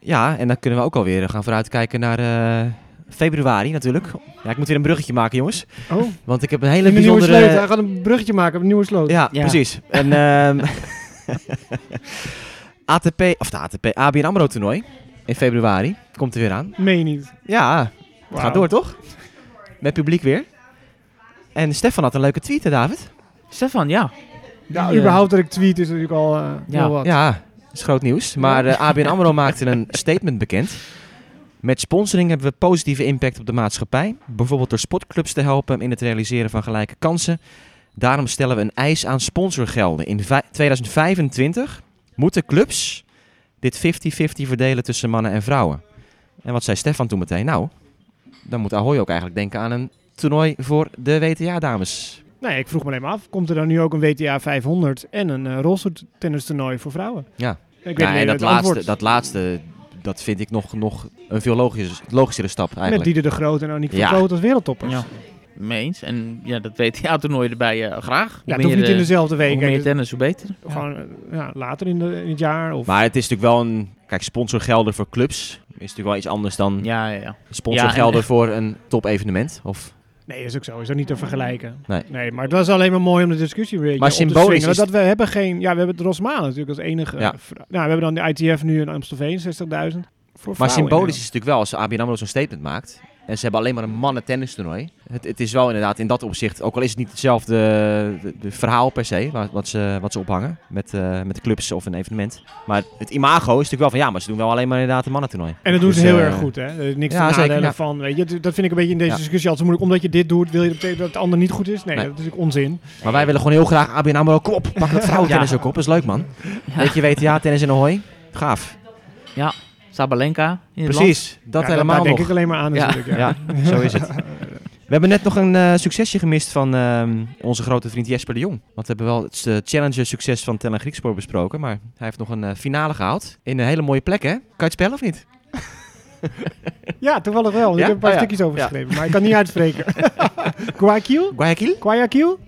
Speaker 1: Ja, en dan kunnen we ook alweer gaan vooruitkijken naar eh, Februari natuurlijk. Ja, ik moet weer een bruggetje maken, jongens.
Speaker 3: Oh,
Speaker 1: Want ik heb een hele
Speaker 3: een nieuwe
Speaker 1: bijzondere...
Speaker 3: sloot. Hij gaat een bruggetje maken op een nieuwe sloot.
Speaker 1: Ja,
Speaker 4: Ja.
Speaker 1: precies. En, ehm, ATP, of de ATP, ABN AMRO toernooi in februari. Komt er weer aan.
Speaker 3: Meen je niet.
Speaker 1: Ja, het
Speaker 3: Wauw.
Speaker 1: gaat door toch? Met publiek weer. En Stefan had een leuke tweet, hè, David?
Speaker 4: Stefan, ja.
Speaker 3: Ja,
Speaker 4: Die, eh,
Speaker 3: Nou, überhaupt dat ik tweet is natuurlijk al eh,
Speaker 4: Ja.
Speaker 3: heel wat.
Speaker 1: Ja, dat is groot nieuws. Maar eh, ABN AMRO maakte een statement bekend. Met sponsoring hebben we positieve impact op de maatschappij. Bijvoorbeeld door sportclubs te helpen in het realiseren van gelijke kansen. Daarom stellen we een eis aan sponsorgelden. In vij- 2025 moeten clubs dit 50-50 verdelen tussen mannen en vrouwen. En wat zei Stefan toen meteen? Nou, dan moet Ahoy ook eigenlijk denken aan een toernooi voor de WTA-dames.
Speaker 3: Nee, ik vroeg me alleen maar af. Komt er dan nu ook een WTA 500 en een eh rolstoeltennis toernooi voor vrouwen?
Speaker 1: Ja.
Speaker 3: Ik weet
Speaker 1: Ja,
Speaker 3: niet
Speaker 1: en
Speaker 3: hoe
Speaker 1: dat
Speaker 3: het
Speaker 1: laatste,
Speaker 3: antwoord-
Speaker 1: dat laatste, dat vind ik nog, nog een veel logischere, logischere stap
Speaker 3: Met
Speaker 1: eigenlijk.
Speaker 3: Dieder de Groot en Aniek van
Speaker 1: Ja.
Speaker 3: Groot als wereldtoppers.
Speaker 4: ja. Mee eens. En ja, dat WTA-toernooi erbij eh, graag.
Speaker 3: Ja,
Speaker 4: Hoe
Speaker 3: het hoeft
Speaker 4: meer,
Speaker 3: niet in
Speaker 4: eh,
Speaker 3: dezelfde week.
Speaker 4: Hoe meer
Speaker 3: hè. Dus
Speaker 4: tennis, hoe beter.
Speaker 3: Gewoon eh, ja, later in, de, in het jaar. Of,
Speaker 1: Maar het is natuurlijk wel een... Kijk, sponsorgelden voor clubs is natuurlijk wel iets anders
Speaker 3: Hm.
Speaker 1: dan
Speaker 4: Ja, ja, ja.
Speaker 1: sponsorgelden
Speaker 4: Ja, en-
Speaker 1: voor een top-evenement. Of...
Speaker 3: nee, is ook zo. Is ook niet te vergelijken.
Speaker 1: Nee.
Speaker 3: maar het was alleen maar mooi om de discussie weer
Speaker 1: Maar
Speaker 3: op te
Speaker 1: symbolisch
Speaker 3: swingen,
Speaker 1: is-
Speaker 3: Dat we hebben geen... Ja, we hebben het Rosmalen natuurlijk als enige.
Speaker 1: Ja.
Speaker 3: eh, vrou- nou, we hebben dan de ITF nu in Amstelveen, 60.000. Voor
Speaker 1: Maar
Speaker 3: vrouwen
Speaker 1: symbolisch is het
Speaker 3: inderdaad.
Speaker 1: natuurlijk wel als ABN AMRO zo'n statement maakt... en ze hebben alleen maar een mannen-tennis-toernooi. Het, het is wel inderdaad in dat opzicht... ook al is het niet hetzelfde de- de verhaal per se... wa- wat ze, wat ze ophangen met, eh, met clubs of een evenement. Maar het imago is natuurlijk wel van... ja, maar ze doen wel alleen maar inderdaad een mannen-toernooi.
Speaker 3: En dat doen
Speaker 1: Dus,
Speaker 3: ze heel
Speaker 1: eh,
Speaker 3: erg goed, hè? Er is niks
Speaker 1: ja,
Speaker 3: te
Speaker 1: zeker,
Speaker 3: nadelen
Speaker 1: ja.
Speaker 3: van. Weet je, dat dat vind ik een beetje in deze
Speaker 1: Ja.
Speaker 3: discussie altijd moeilijk. Omdat je dit doet, wil je dat betekent dat het ander niet goed is? Nee,
Speaker 1: Nee.
Speaker 3: dat is natuurlijk onzin.
Speaker 1: Maar wij willen gewoon heel graag ABN AMRO. Kom op, pak dat vrouwentennis
Speaker 4: Ja.
Speaker 1: ook op. Dat is leuk, man. Weet je, WTA, tennis en Ahoy. Gaaf.
Speaker 4: Sabalenka in het
Speaker 1: Precies, dat
Speaker 3: Ja,
Speaker 1: helemaal
Speaker 3: daar denk
Speaker 1: nog.
Speaker 3: ik alleen maar aan
Speaker 4: Ja.
Speaker 3: natuurlijk. Ja.
Speaker 1: Ja, zo is het. We hebben net nog een eh, succesje gemist van ehm, onze grote vriend Jesper de Jong. Want we hebben wel het eh, Challenger-succes van Tellen Griekspoor besproken. Maar hij heeft nog een eh, finale gehaald. In een hele mooie plek, hè? Kan je het spellen of niet?
Speaker 3: Ja, toevallig wel. want
Speaker 1: Ja?
Speaker 3: Ik heb een paar
Speaker 1: Ah, ja.
Speaker 3: stukjes over
Speaker 1: Ja.
Speaker 3: geschreven, maar ik kan niet uitspreken. Guayaquil?
Speaker 1: Guayaquil?
Speaker 3: Guayaquil?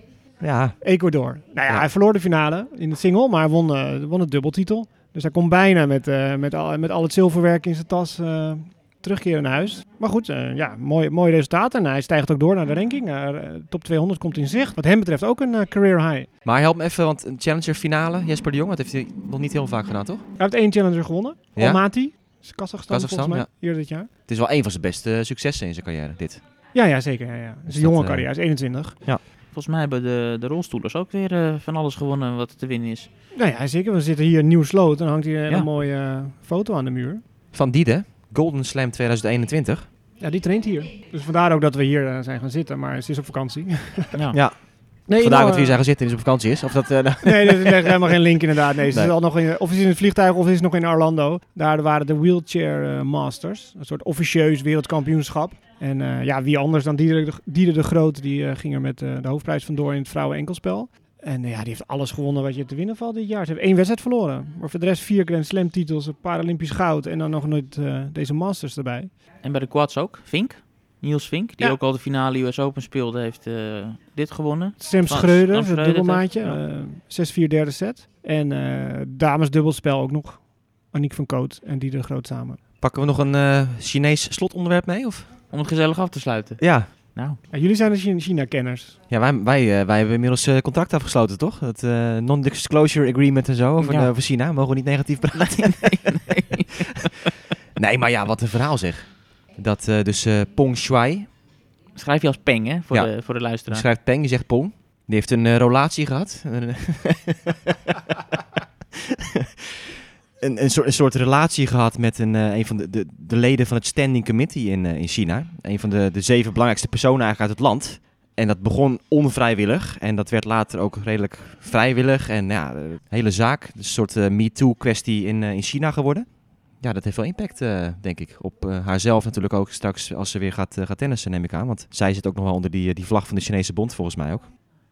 Speaker 1: Ja,
Speaker 3: Ecuador. Nou ja,
Speaker 1: Ja.
Speaker 3: hij verloor de finale in het single, maar hij won, eh, won het dubbeltitel. Dus hij kon bijna met, eh, met, al, met al het zilverwerk in zijn tas eh, terugkeren naar huis. Maar goed, eh, ja, mooi, mooi resultaat. En hij stijgt ook door naar de ranking. Eh, top 200 komt in zicht. Wat hem betreft ook een eh, career high.
Speaker 1: maar help me even, want een Challenger-finale, Jesper de Jong, dat heeft hij nog niet heel vaak gedaan, toch?
Speaker 3: Hij heeft één challenger gewonnen.
Speaker 1: Ja.
Speaker 3: Almaty. Is Kazachstan,
Speaker 1: Kazachstan,
Speaker 3: volgens mij, eerder dit jaar.
Speaker 1: Het is wel een van zijn beste eh, successen in zijn carrière, dit.
Speaker 3: Ja, ja zeker. Ja, ja. Het is
Speaker 1: Dus
Speaker 3: een
Speaker 1: dat,
Speaker 3: jonge
Speaker 1: eh,
Speaker 3: carrière, hij is 21.
Speaker 4: land. Volgens mij hebben de, de rolstoelers ook weer eh, van alles gewonnen wat te winnen is.
Speaker 3: Nou ja, zeker. We zitten hier in Nieuw Sloot en hangt hier een
Speaker 4: Ja.
Speaker 3: hele mooie eh, foto aan de muur.
Speaker 1: Van Diede, Golden Slam 2021.
Speaker 3: Ja, die traint hier. Dus vandaar ook dat we hier eh, zijn gaan zitten, maar ze is op vakantie.
Speaker 4: Ja.
Speaker 1: Ja.
Speaker 3: Nee,
Speaker 1: Vandaag
Speaker 3: nou,
Speaker 1: dat we hier zijn gaan
Speaker 3: eh,
Speaker 1: zitten en is op vakantie is. Of dat, eh, nou-
Speaker 3: Nee, dit legt helemaal geen link inderdaad. Nee, ze
Speaker 1: Nee.
Speaker 3: Is al nog in, of ze is in het vliegtuig of ze is nog in Orlando. Daar waren de Wheelchair eh, Masters. Een soort officieus wereldkampioenschap. En eh, ja, wie anders dan Dieder de, Dieder de Groot. Die eh, ging er met eh, de hoofdprijs vandoor in het vrouwen-enkelspel. En eh, ja, die heeft alles gewonnen wat je te winnen valt dit jaar. Ze heeft één wedstrijd verloren. Maar voor de rest vier Grand Slam titels, een Paralympisch goud en dan nog nooit eh, deze Masters erbij.
Speaker 4: En bij de quads ook. Vink. Niels Vink, die
Speaker 3: Ja.
Speaker 4: ook al de finale US Open speelde, heeft eh, dit gewonnen.
Speaker 3: Sam
Speaker 4: Frans-
Speaker 3: Schreuder,
Speaker 4: Frans
Speaker 3: het
Speaker 4: Schreuder,
Speaker 3: dubbelmaatje.
Speaker 4: toch? Ja.
Speaker 3: eh 6-4 derde set. En eh dames dubbelspel ook nog. Aniek van Koot en Dieder de Groot samen.
Speaker 1: Pakken we nog een eh, Chinees slotonderwerp mee? Of?
Speaker 4: Om het gezellig af te sluiten.
Speaker 1: Ja,
Speaker 4: Nou,
Speaker 3: Ja, jullie zijn de Chi- China-kenners.
Speaker 1: ja wij, wij, eh, wij hebben inmiddels eh, contract afgesloten, toch? Het eh, non-disclosure agreement en zo over,
Speaker 4: Ja.
Speaker 1: eh, over China. Mogen we niet negatief praten? Nee, maar ja, wat een verhaal zeg. Dat eh, dus eh, Peng Shuai,
Speaker 4: schrijf je als peng, hè, voor,
Speaker 1: Ja.
Speaker 4: de, voor de
Speaker 1: die
Speaker 4: luisteraar.
Speaker 1: schrijft Peng, die zegt Pong. Die heeft een eh, relatie gehad. Een- een, een, soort, een soort relatie gehad met een, eh, een van de, de, de leden van het Standing Committee in, eh, in China. Een van de, de zeven belangrijkste personen eigenlijk uit het land. En dat begon onvrijwillig. En dat werd later ook redelijk vrijwillig. En ja, de hele zaak. dus Een soort eh, MeToo-kwestie in, eh, in China geworden. Ja, dat heeft wel impact, eh, denk ik. Op eh, haarzelf natuurlijk ook straks als ze weer gaat, eh, gaat tennissen, neem ik aan. Want zij zit ook nog wel onder die, eh, die vlag van de Chinese bond, volgens mij ook.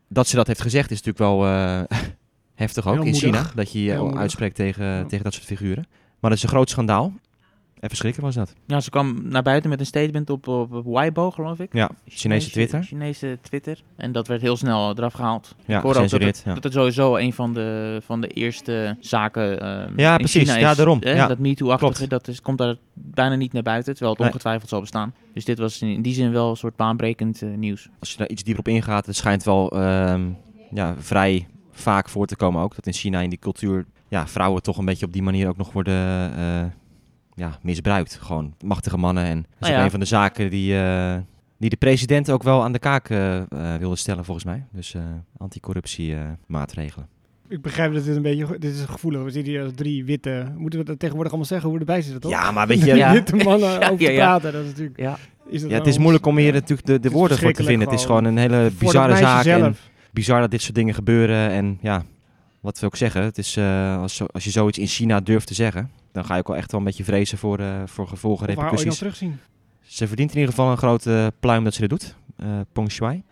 Speaker 1: Dat ze dat heeft gezegd is natuurlijk wel eh, heftig ook
Speaker 3: Heel
Speaker 1: in
Speaker 3: moedig.
Speaker 1: China. Dat je je
Speaker 3: Heel moedig.
Speaker 1: uitspreekt tegen,
Speaker 3: Ja.
Speaker 1: tegen dat soort figuren. Maar dat is een groot schandaal. Even schrikken was dat.
Speaker 4: Ja, ze kwam naar buiten met een statement op, op, op Weibo, geloof ik.
Speaker 1: Ja, Chinese Twitter.
Speaker 4: Chinese Twitter. En dat werd heel snel eh, eraf gehaald.
Speaker 1: Ja,
Speaker 4: Ik hoorde ook dat het,
Speaker 1: gecensureerd. Ja.
Speaker 4: dat het sowieso een van de, van de eerste zaken eh,
Speaker 1: Ja,
Speaker 4: in
Speaker 1: precies.
Speaker 4: China is.
Speaker 1: Ja, daarom.
Speaker 4: Hè?
Speaker 1: Ja,
Speaker 4: Dat MeToo-achtige,
Speaker 1: klopt.
Speaker 4: dat is, komt daar bijna niet naar buiten, terwijl het
Speaker 1: Nee.
Speaker 4: ongetwijfeld zal bestaan. Dus dit was in, in die zin wel een soort baanbrekend eh, nieuws.
Speaker 1: Als je daar iets dieper op ingaat, het schijnt wel ehm, ja, vrij vaak voor te komen ook. Dat in China, in die cultuur, ja, vrouwen toch een beetje op die manier ook nog worden eh, ja, misbruikt. Gewoon machtige mannen. En dat is
Speaker 4: Nou
Speaker 1: ook
Speaker 4: ja.
Speaker 1: een van de zaken die, eh, die de president ook wel aan de kaak eh, eh, wilde stellen, volgens mij. Dus eh anticorruptie eh, maatregelen.
Speaker 3: Ik begrijp dat dit een beetje... Dit is gevoelig. We zitten hier als drie witte... Moeten we dat tegenwoordig allemaal zeggen hoe we erbij zitten, toch?
Speaker 1: Ja, maar weet je,
Speaker 3: Drie
Speaker 4: Ja.
Speaker 3: witte mannen
Speaker 4: Ja,
Speaker 3: over
Speaker 4: ja,
Speaker 3: te
Speaker 4: ja.
Speaker 3: praten. Dat is natuurlijk...
Speaker 4: Ja.
Speaker 3: Is dat
Speaker 1: ja, het
Speaker 3: nou
Speaker 1: is moeilijk om hier
Speaker 3: ons-
Speaker 1: natuurlijk de, de
Speaker 3: is
Speaker 1: woorden voor te
Speaker 3: verschrikkelijk
Speaker 1: vinden. Het is
Speaker 3: gewoon.
Speaker 1: gewoon een hele
Speaker 3: Voor dat
Speaker 1: bizarre
Speaker 3: meisje
Speaker 1: zaak. En
Speaker 3: zelf.
Speaker 1: bizar dat dit soort dingen gebeuren. En ja, wat wil ik zeggen? Het is, eh, als, zo- als je zoiets in China durft te zeggen, dan ga je ook wel echt wel een beetje vrezen voor, eh, voor gevolgen,
Speaker 3: Of haar ooit nog
Speaker 1: repercussies.
Speaker 3: terugzien.
Speaker 1: Ze verdient in ieder geval een grote pluim dat ze dit doet, eh Peng Shuai.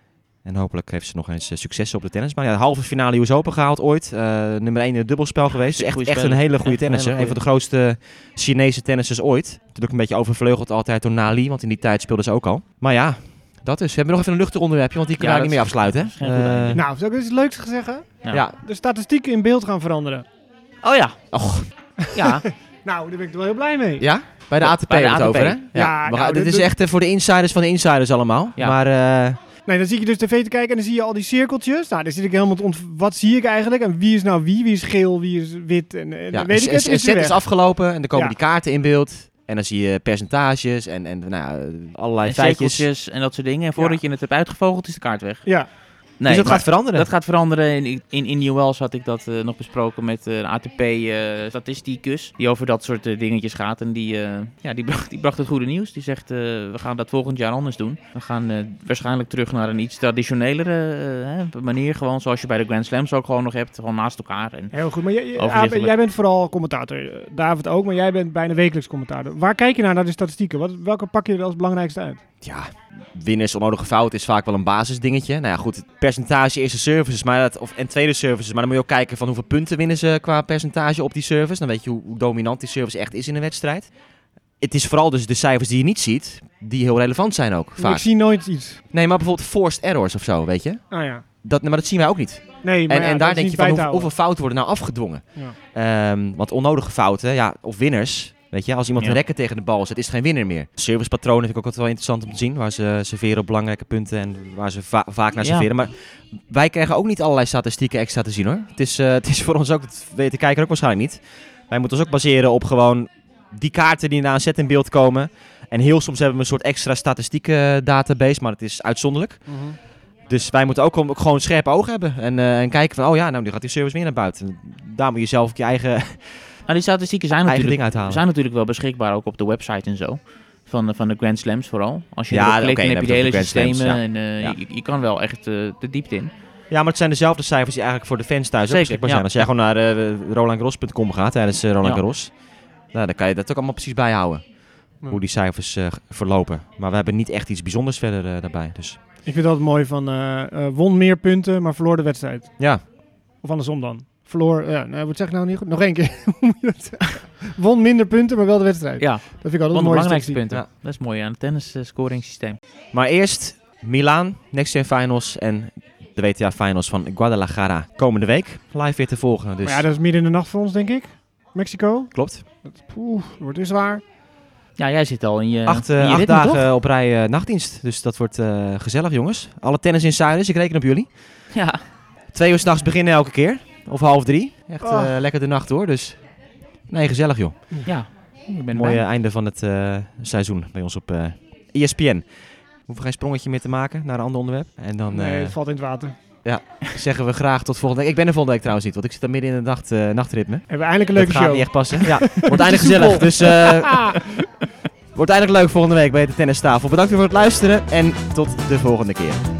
Speaker 1: En hopelijk heeft ze nog eens eh, succes op de tennis. Maar ja, de halve finale US Open gehaald ooit. eh, nummer 1 in het dubbelspel geweest. Dus echt,
Speaker 4: goeie
Speaker 1: echt een
Speaker 4: speler.
Speaker 1: hele goede
Speaker 4: Echt een
Speaker 1: tennisser.
Speaker 4: hele
Speaker 1: Een van de grootste Chinese tennissers ooit. Natuurlijk een beetje overvleugeld altijd door Nali, want in die tijd speelde ze ook al. Maar ja, dat is. We hebben nog even een luchtig onderwerpje, want die kunnen
Speaker 4: Ja,
Speaker 1: we niet mee
Speaker 4: dat is-
Speaker 1: afsluiten.
Speaker 4: dat is geen
Speaker 1: hè?
Speaker 4: goed einde.
Speaker 1: Eh,
Speaker 3: Nou, zou ik iets leuks zeggen?
Speaker 4: Nou,
Speaker 1: ja.
Speaker 3: De statistieken in beeld gaan veranderen.
Speaker 4: Oh ja,
Speaker 1: Och,
Speaker 4: ja.
Speaker 3: Nou, daar ben ik er wel heel blij mee.
Speaker 1: Ja? Bij de ATP
Speaker 4: Bij de
Speaker 1: hebben we het
Speaker 4: ATP.
Speaker 1: over, hè?
Speaker 3: Ja,
Speaker 1: we
Speaker 3: nou,
Speaker 1: gaan- dit
Speaker 3: dit-
Speaker 1: is echt eh, voor de insiders van de insiders allemaal.
Speaker 4: Ja.
Speaker 1: Maar eh,
Speaker 3: Nee, dan zie je dus tv te kijken en dan zie je al die cirkeltjes. Nou, dan zit ik helemaal te ont- Wat zie ik eigenlijk? En wie is nou wie? Wie is geel? Wie is wit? En, en
Speaker 1: ja,
Speaker 3: dan weet ik
Speaker 1: een-
Speaker 3: het,
Speaker 1: een
Speaker 3: is
Speaker 1: set
Speaker 3: hij
Speaker 1: is
Speaker 3: weg.
Speaker 1: afgelopen en dan komen
Speaker 3: Ja.
Speaker 1: die kaarten in beeld. En dan zie je percentages en, en nou, ja, allerlei
Speaker 4: en
Speaker 1: feitjes. Dus
Speaker 4: cirkeltjes en dat soort dingen. En voordat je het hebt uitgevogeld is de kaart weg.
Speaker 3: Ja,
Speaker 4: Nee,
Speaker 1: dat
Speaker 4: maar-
Speaker 1: gaat veranderen.
Speaker 4: Dat gaat veranderen. In, in, in New Wales had ik dat eh, nog besproken met eh, een ATP-statisticus. die over dat soort eh, dingetjes gaat. En die, eh, ja, die, bracht, die bracht het goede nieuws. Die zegt: eh, we gaan dat volgend jaar anders doen. We gaan eh, waarschijnlijk terug naar een iets traditionelere eh, hè, manier. Gewoon zoals je bij de Grand Slams ook gewoon nog hebt. Gewoon naast elkaar. En
Speaker 3: heel goed. Maar jij, jij-
Speaker 4: Overzichtelijk.
Speaker 3: Abe, jij bent vooral commentator. Eh, David ook, maar jij bent bijna wekelijks commentator. Waar kijk je nou naar, naar de statistieken? Wat, welke pak je er als belangrijkste uit?
Speaker 1: Ja, winners, onnodige fout is vaak wel een basisdingetje. Nou ja, goed, het percentage eerste services maar dat, of, en tweede services. Maar dan moet je ook kijken van hoeveel punten winnen ze qua percentage op die service. Dan weet je hoe, hoe dominant die service echt is in een wedstrijd. Het is vooral dus de cijfers die je niet ziet, die heel relevant zijn ook vaak.
Speaker 3: Ik zie nooit iets.
Speaker 1: Nee, maar bijvoorbeeld forced errors of zo, weet je?
Speaker 3: Ah ja.
Speaker 1: Dat, maar dat zien wij ook niet.
Speaker 3: Nee, maar
Speaker 1: En,
Speaker 3: ja,
Speaker 1: en
Speaker 3: dat
Speaker 1: daar
Speaker 3: is
Speaker 1: denk
Speaker 3: niet
Speaker 1: je
Speaker 3: bij
Speaker 1: van
Speaker 3: te
Speaker 1: hoeveel,
Speaker 3: houden.
Speaker 1: hoeveel fouten worden nou afgedwongen? Ehm, want onnodige fouten, ja, of winners. Weet je, als iemand
Speaker 4: Ja.
Speaker 1: een rekker tegen de bal zet, is het geen winner meer. Servicepatronen vind ik ook altijd wel interessant om te zien. Waar ze serveren op belangrijke punten en waar ze va- vaak naar
Speaker 4: Ja.
Speaker 1: serveren. Maar wij krijgen ook niet allerlei statistieken extra te zien hoor. Het is, eh, het is voor ons ook, dat weet de kijker ook waarschijnlijk niet. Wij moeten ons ook baseren op gewoon die kaarten die na een set in beeld komen. En heel soms hebben we een soort extra statistieken database, maar het is uitzonderlijk.
Speaker 3: Ja. Mhm.
Speaker 1: Dus wij moeten ook gewoon- gewoon scherp oog hebben. En, eh, en kijken van, oh ja, nou nu gaat die service meer naar buiten. Daar moet je zelf ook je eigen,
Speaker 4: Nou, die statistieken zijn
Speaker 1: eigen
Speaker 4: natuurlijk,
Speaker 1: ding uithalen.
Speaker 4: zijn natuurlijk wel beschikbaar. Ook op de website en zo. Van, de- van de Grand Slams vooral. Als je
Speaker 1: Ja,
Speaker 4: erop
Speaker 1: oké,
Speaker 4: klikt,
Speaker 1: dan
Speaker 4: dan heb
Speaker 1: heb je
Speaker 4: je de hele
Speaker 1: het over de Grand
Speaker 4: systemen.
Speaker 1: Slams,
Speaker 4: En eh,
Speaker 1: Ja.
Speaker 4: je, je kan wel echt eh, de diepte in.
Speaker 1: Ja, maar het zijn dezelfde cijfers die eigenlijk voor de fans thuis ook
Speaker 4: Zeker,
Speaker 1: beschikbaar zijn.
Speaker 4: ja.
Speaker 1: Als jij gewoon naar eh rolandgros.com gaat tijdens eh, Roland
Speaker 4: Ja.
Speaker 1: Garros, nou, dan kan je dat ook allemaal precies bijhouden.
Speaker 3: Ja.
Speaker 1: Hoe die cijfers eh, verlopen. Maar we hebben niet echt iets bijzonders verder eh, daarbij. Dus
Speaker 3: Ik vind dat mooi van eh, eh, won meer punten, maar verloor de wedstrijd.
Speaker 1: ja,
Speaker 3: Of andersom dan. Verloor, ja, nou, wat zeg ik nou niet goed? Nog één keer. Hoe moet je dat zeggen? won minder punten, maar wel de wedstrijd.
Speaker 4: Ja.
Speaker 3: Dat vind ik altijd een
Speaker 4: Van de
Speaker 3: mooie
Speaker 4: belangrijkste
Speaker 3: statistiek.
Speaker 4: punten.
Speaker 1: Ja.
Speaker 4: Dat is mooi aan het tennisscoringssysteem.
Speaker 1: maar eerst Milaan, Next Gen Finals en de WTA Finals van Guadalajara. Komende week live weer te volgen. Dus
Speaker 3: Maar ja, dat is midden in de nacht voor ons, denk ik. Mexico.
Speaker 1: klopt.
Speaker 3: Poeh, dat wordt dus zwaar.
Speaker 4: Ja, jij zit al in je,
Speaker 1: acht
Speaker 4: in
Speaker 1: eh,
Speaker 4: je
Speaker 1: acht
Speaker 4: ritme,
Speaker 1: dagen op rij eh, nachtdienst. Dus dat wordt eh, gezellig, jongens. Alle tennis insiders, ik reken op jullie.
Speaker 4: toch? Ja.
Speaker 1: Twee uur s'nachts beginnen elke keer. Of half drie. Echt eh,
Speaker 3: Oh.
Speaker 1: lekker de nacht hoor. Dus nee, gezellig joh.
Speaker 4: ja, ik ben
Speaker 1: Mooi
Speaker 4: erbij.
Speaker 1: eh, einde van het eh, seizoen bij ons op eh ESPN. We hoeven geen sprongetje meer te maken naar een ander onderwerp. En dan
Speaker 3: nee,
Speaker 1: eh,
Speaker 3: het valt in het water.
Speaker 1: zeggen we graag tot volgende week. Ik ben er volgende week trouwens niet, want ik zit daar midden in de nacht, eh, nachtritme.
Speaker 3: Hebben we eindelijk een
Speaker 1: Dat
Speaker 3: leuke
Speaker 1: gaat
Speaker 3: show.
Speaker 1: niet echt passen. Ja, wordt eindelijk gezellig. Dus eh wordt eindelijk leuk volgende week bij de tennistafel. Bedankt weer voor het luisteren en tot de volgende keer.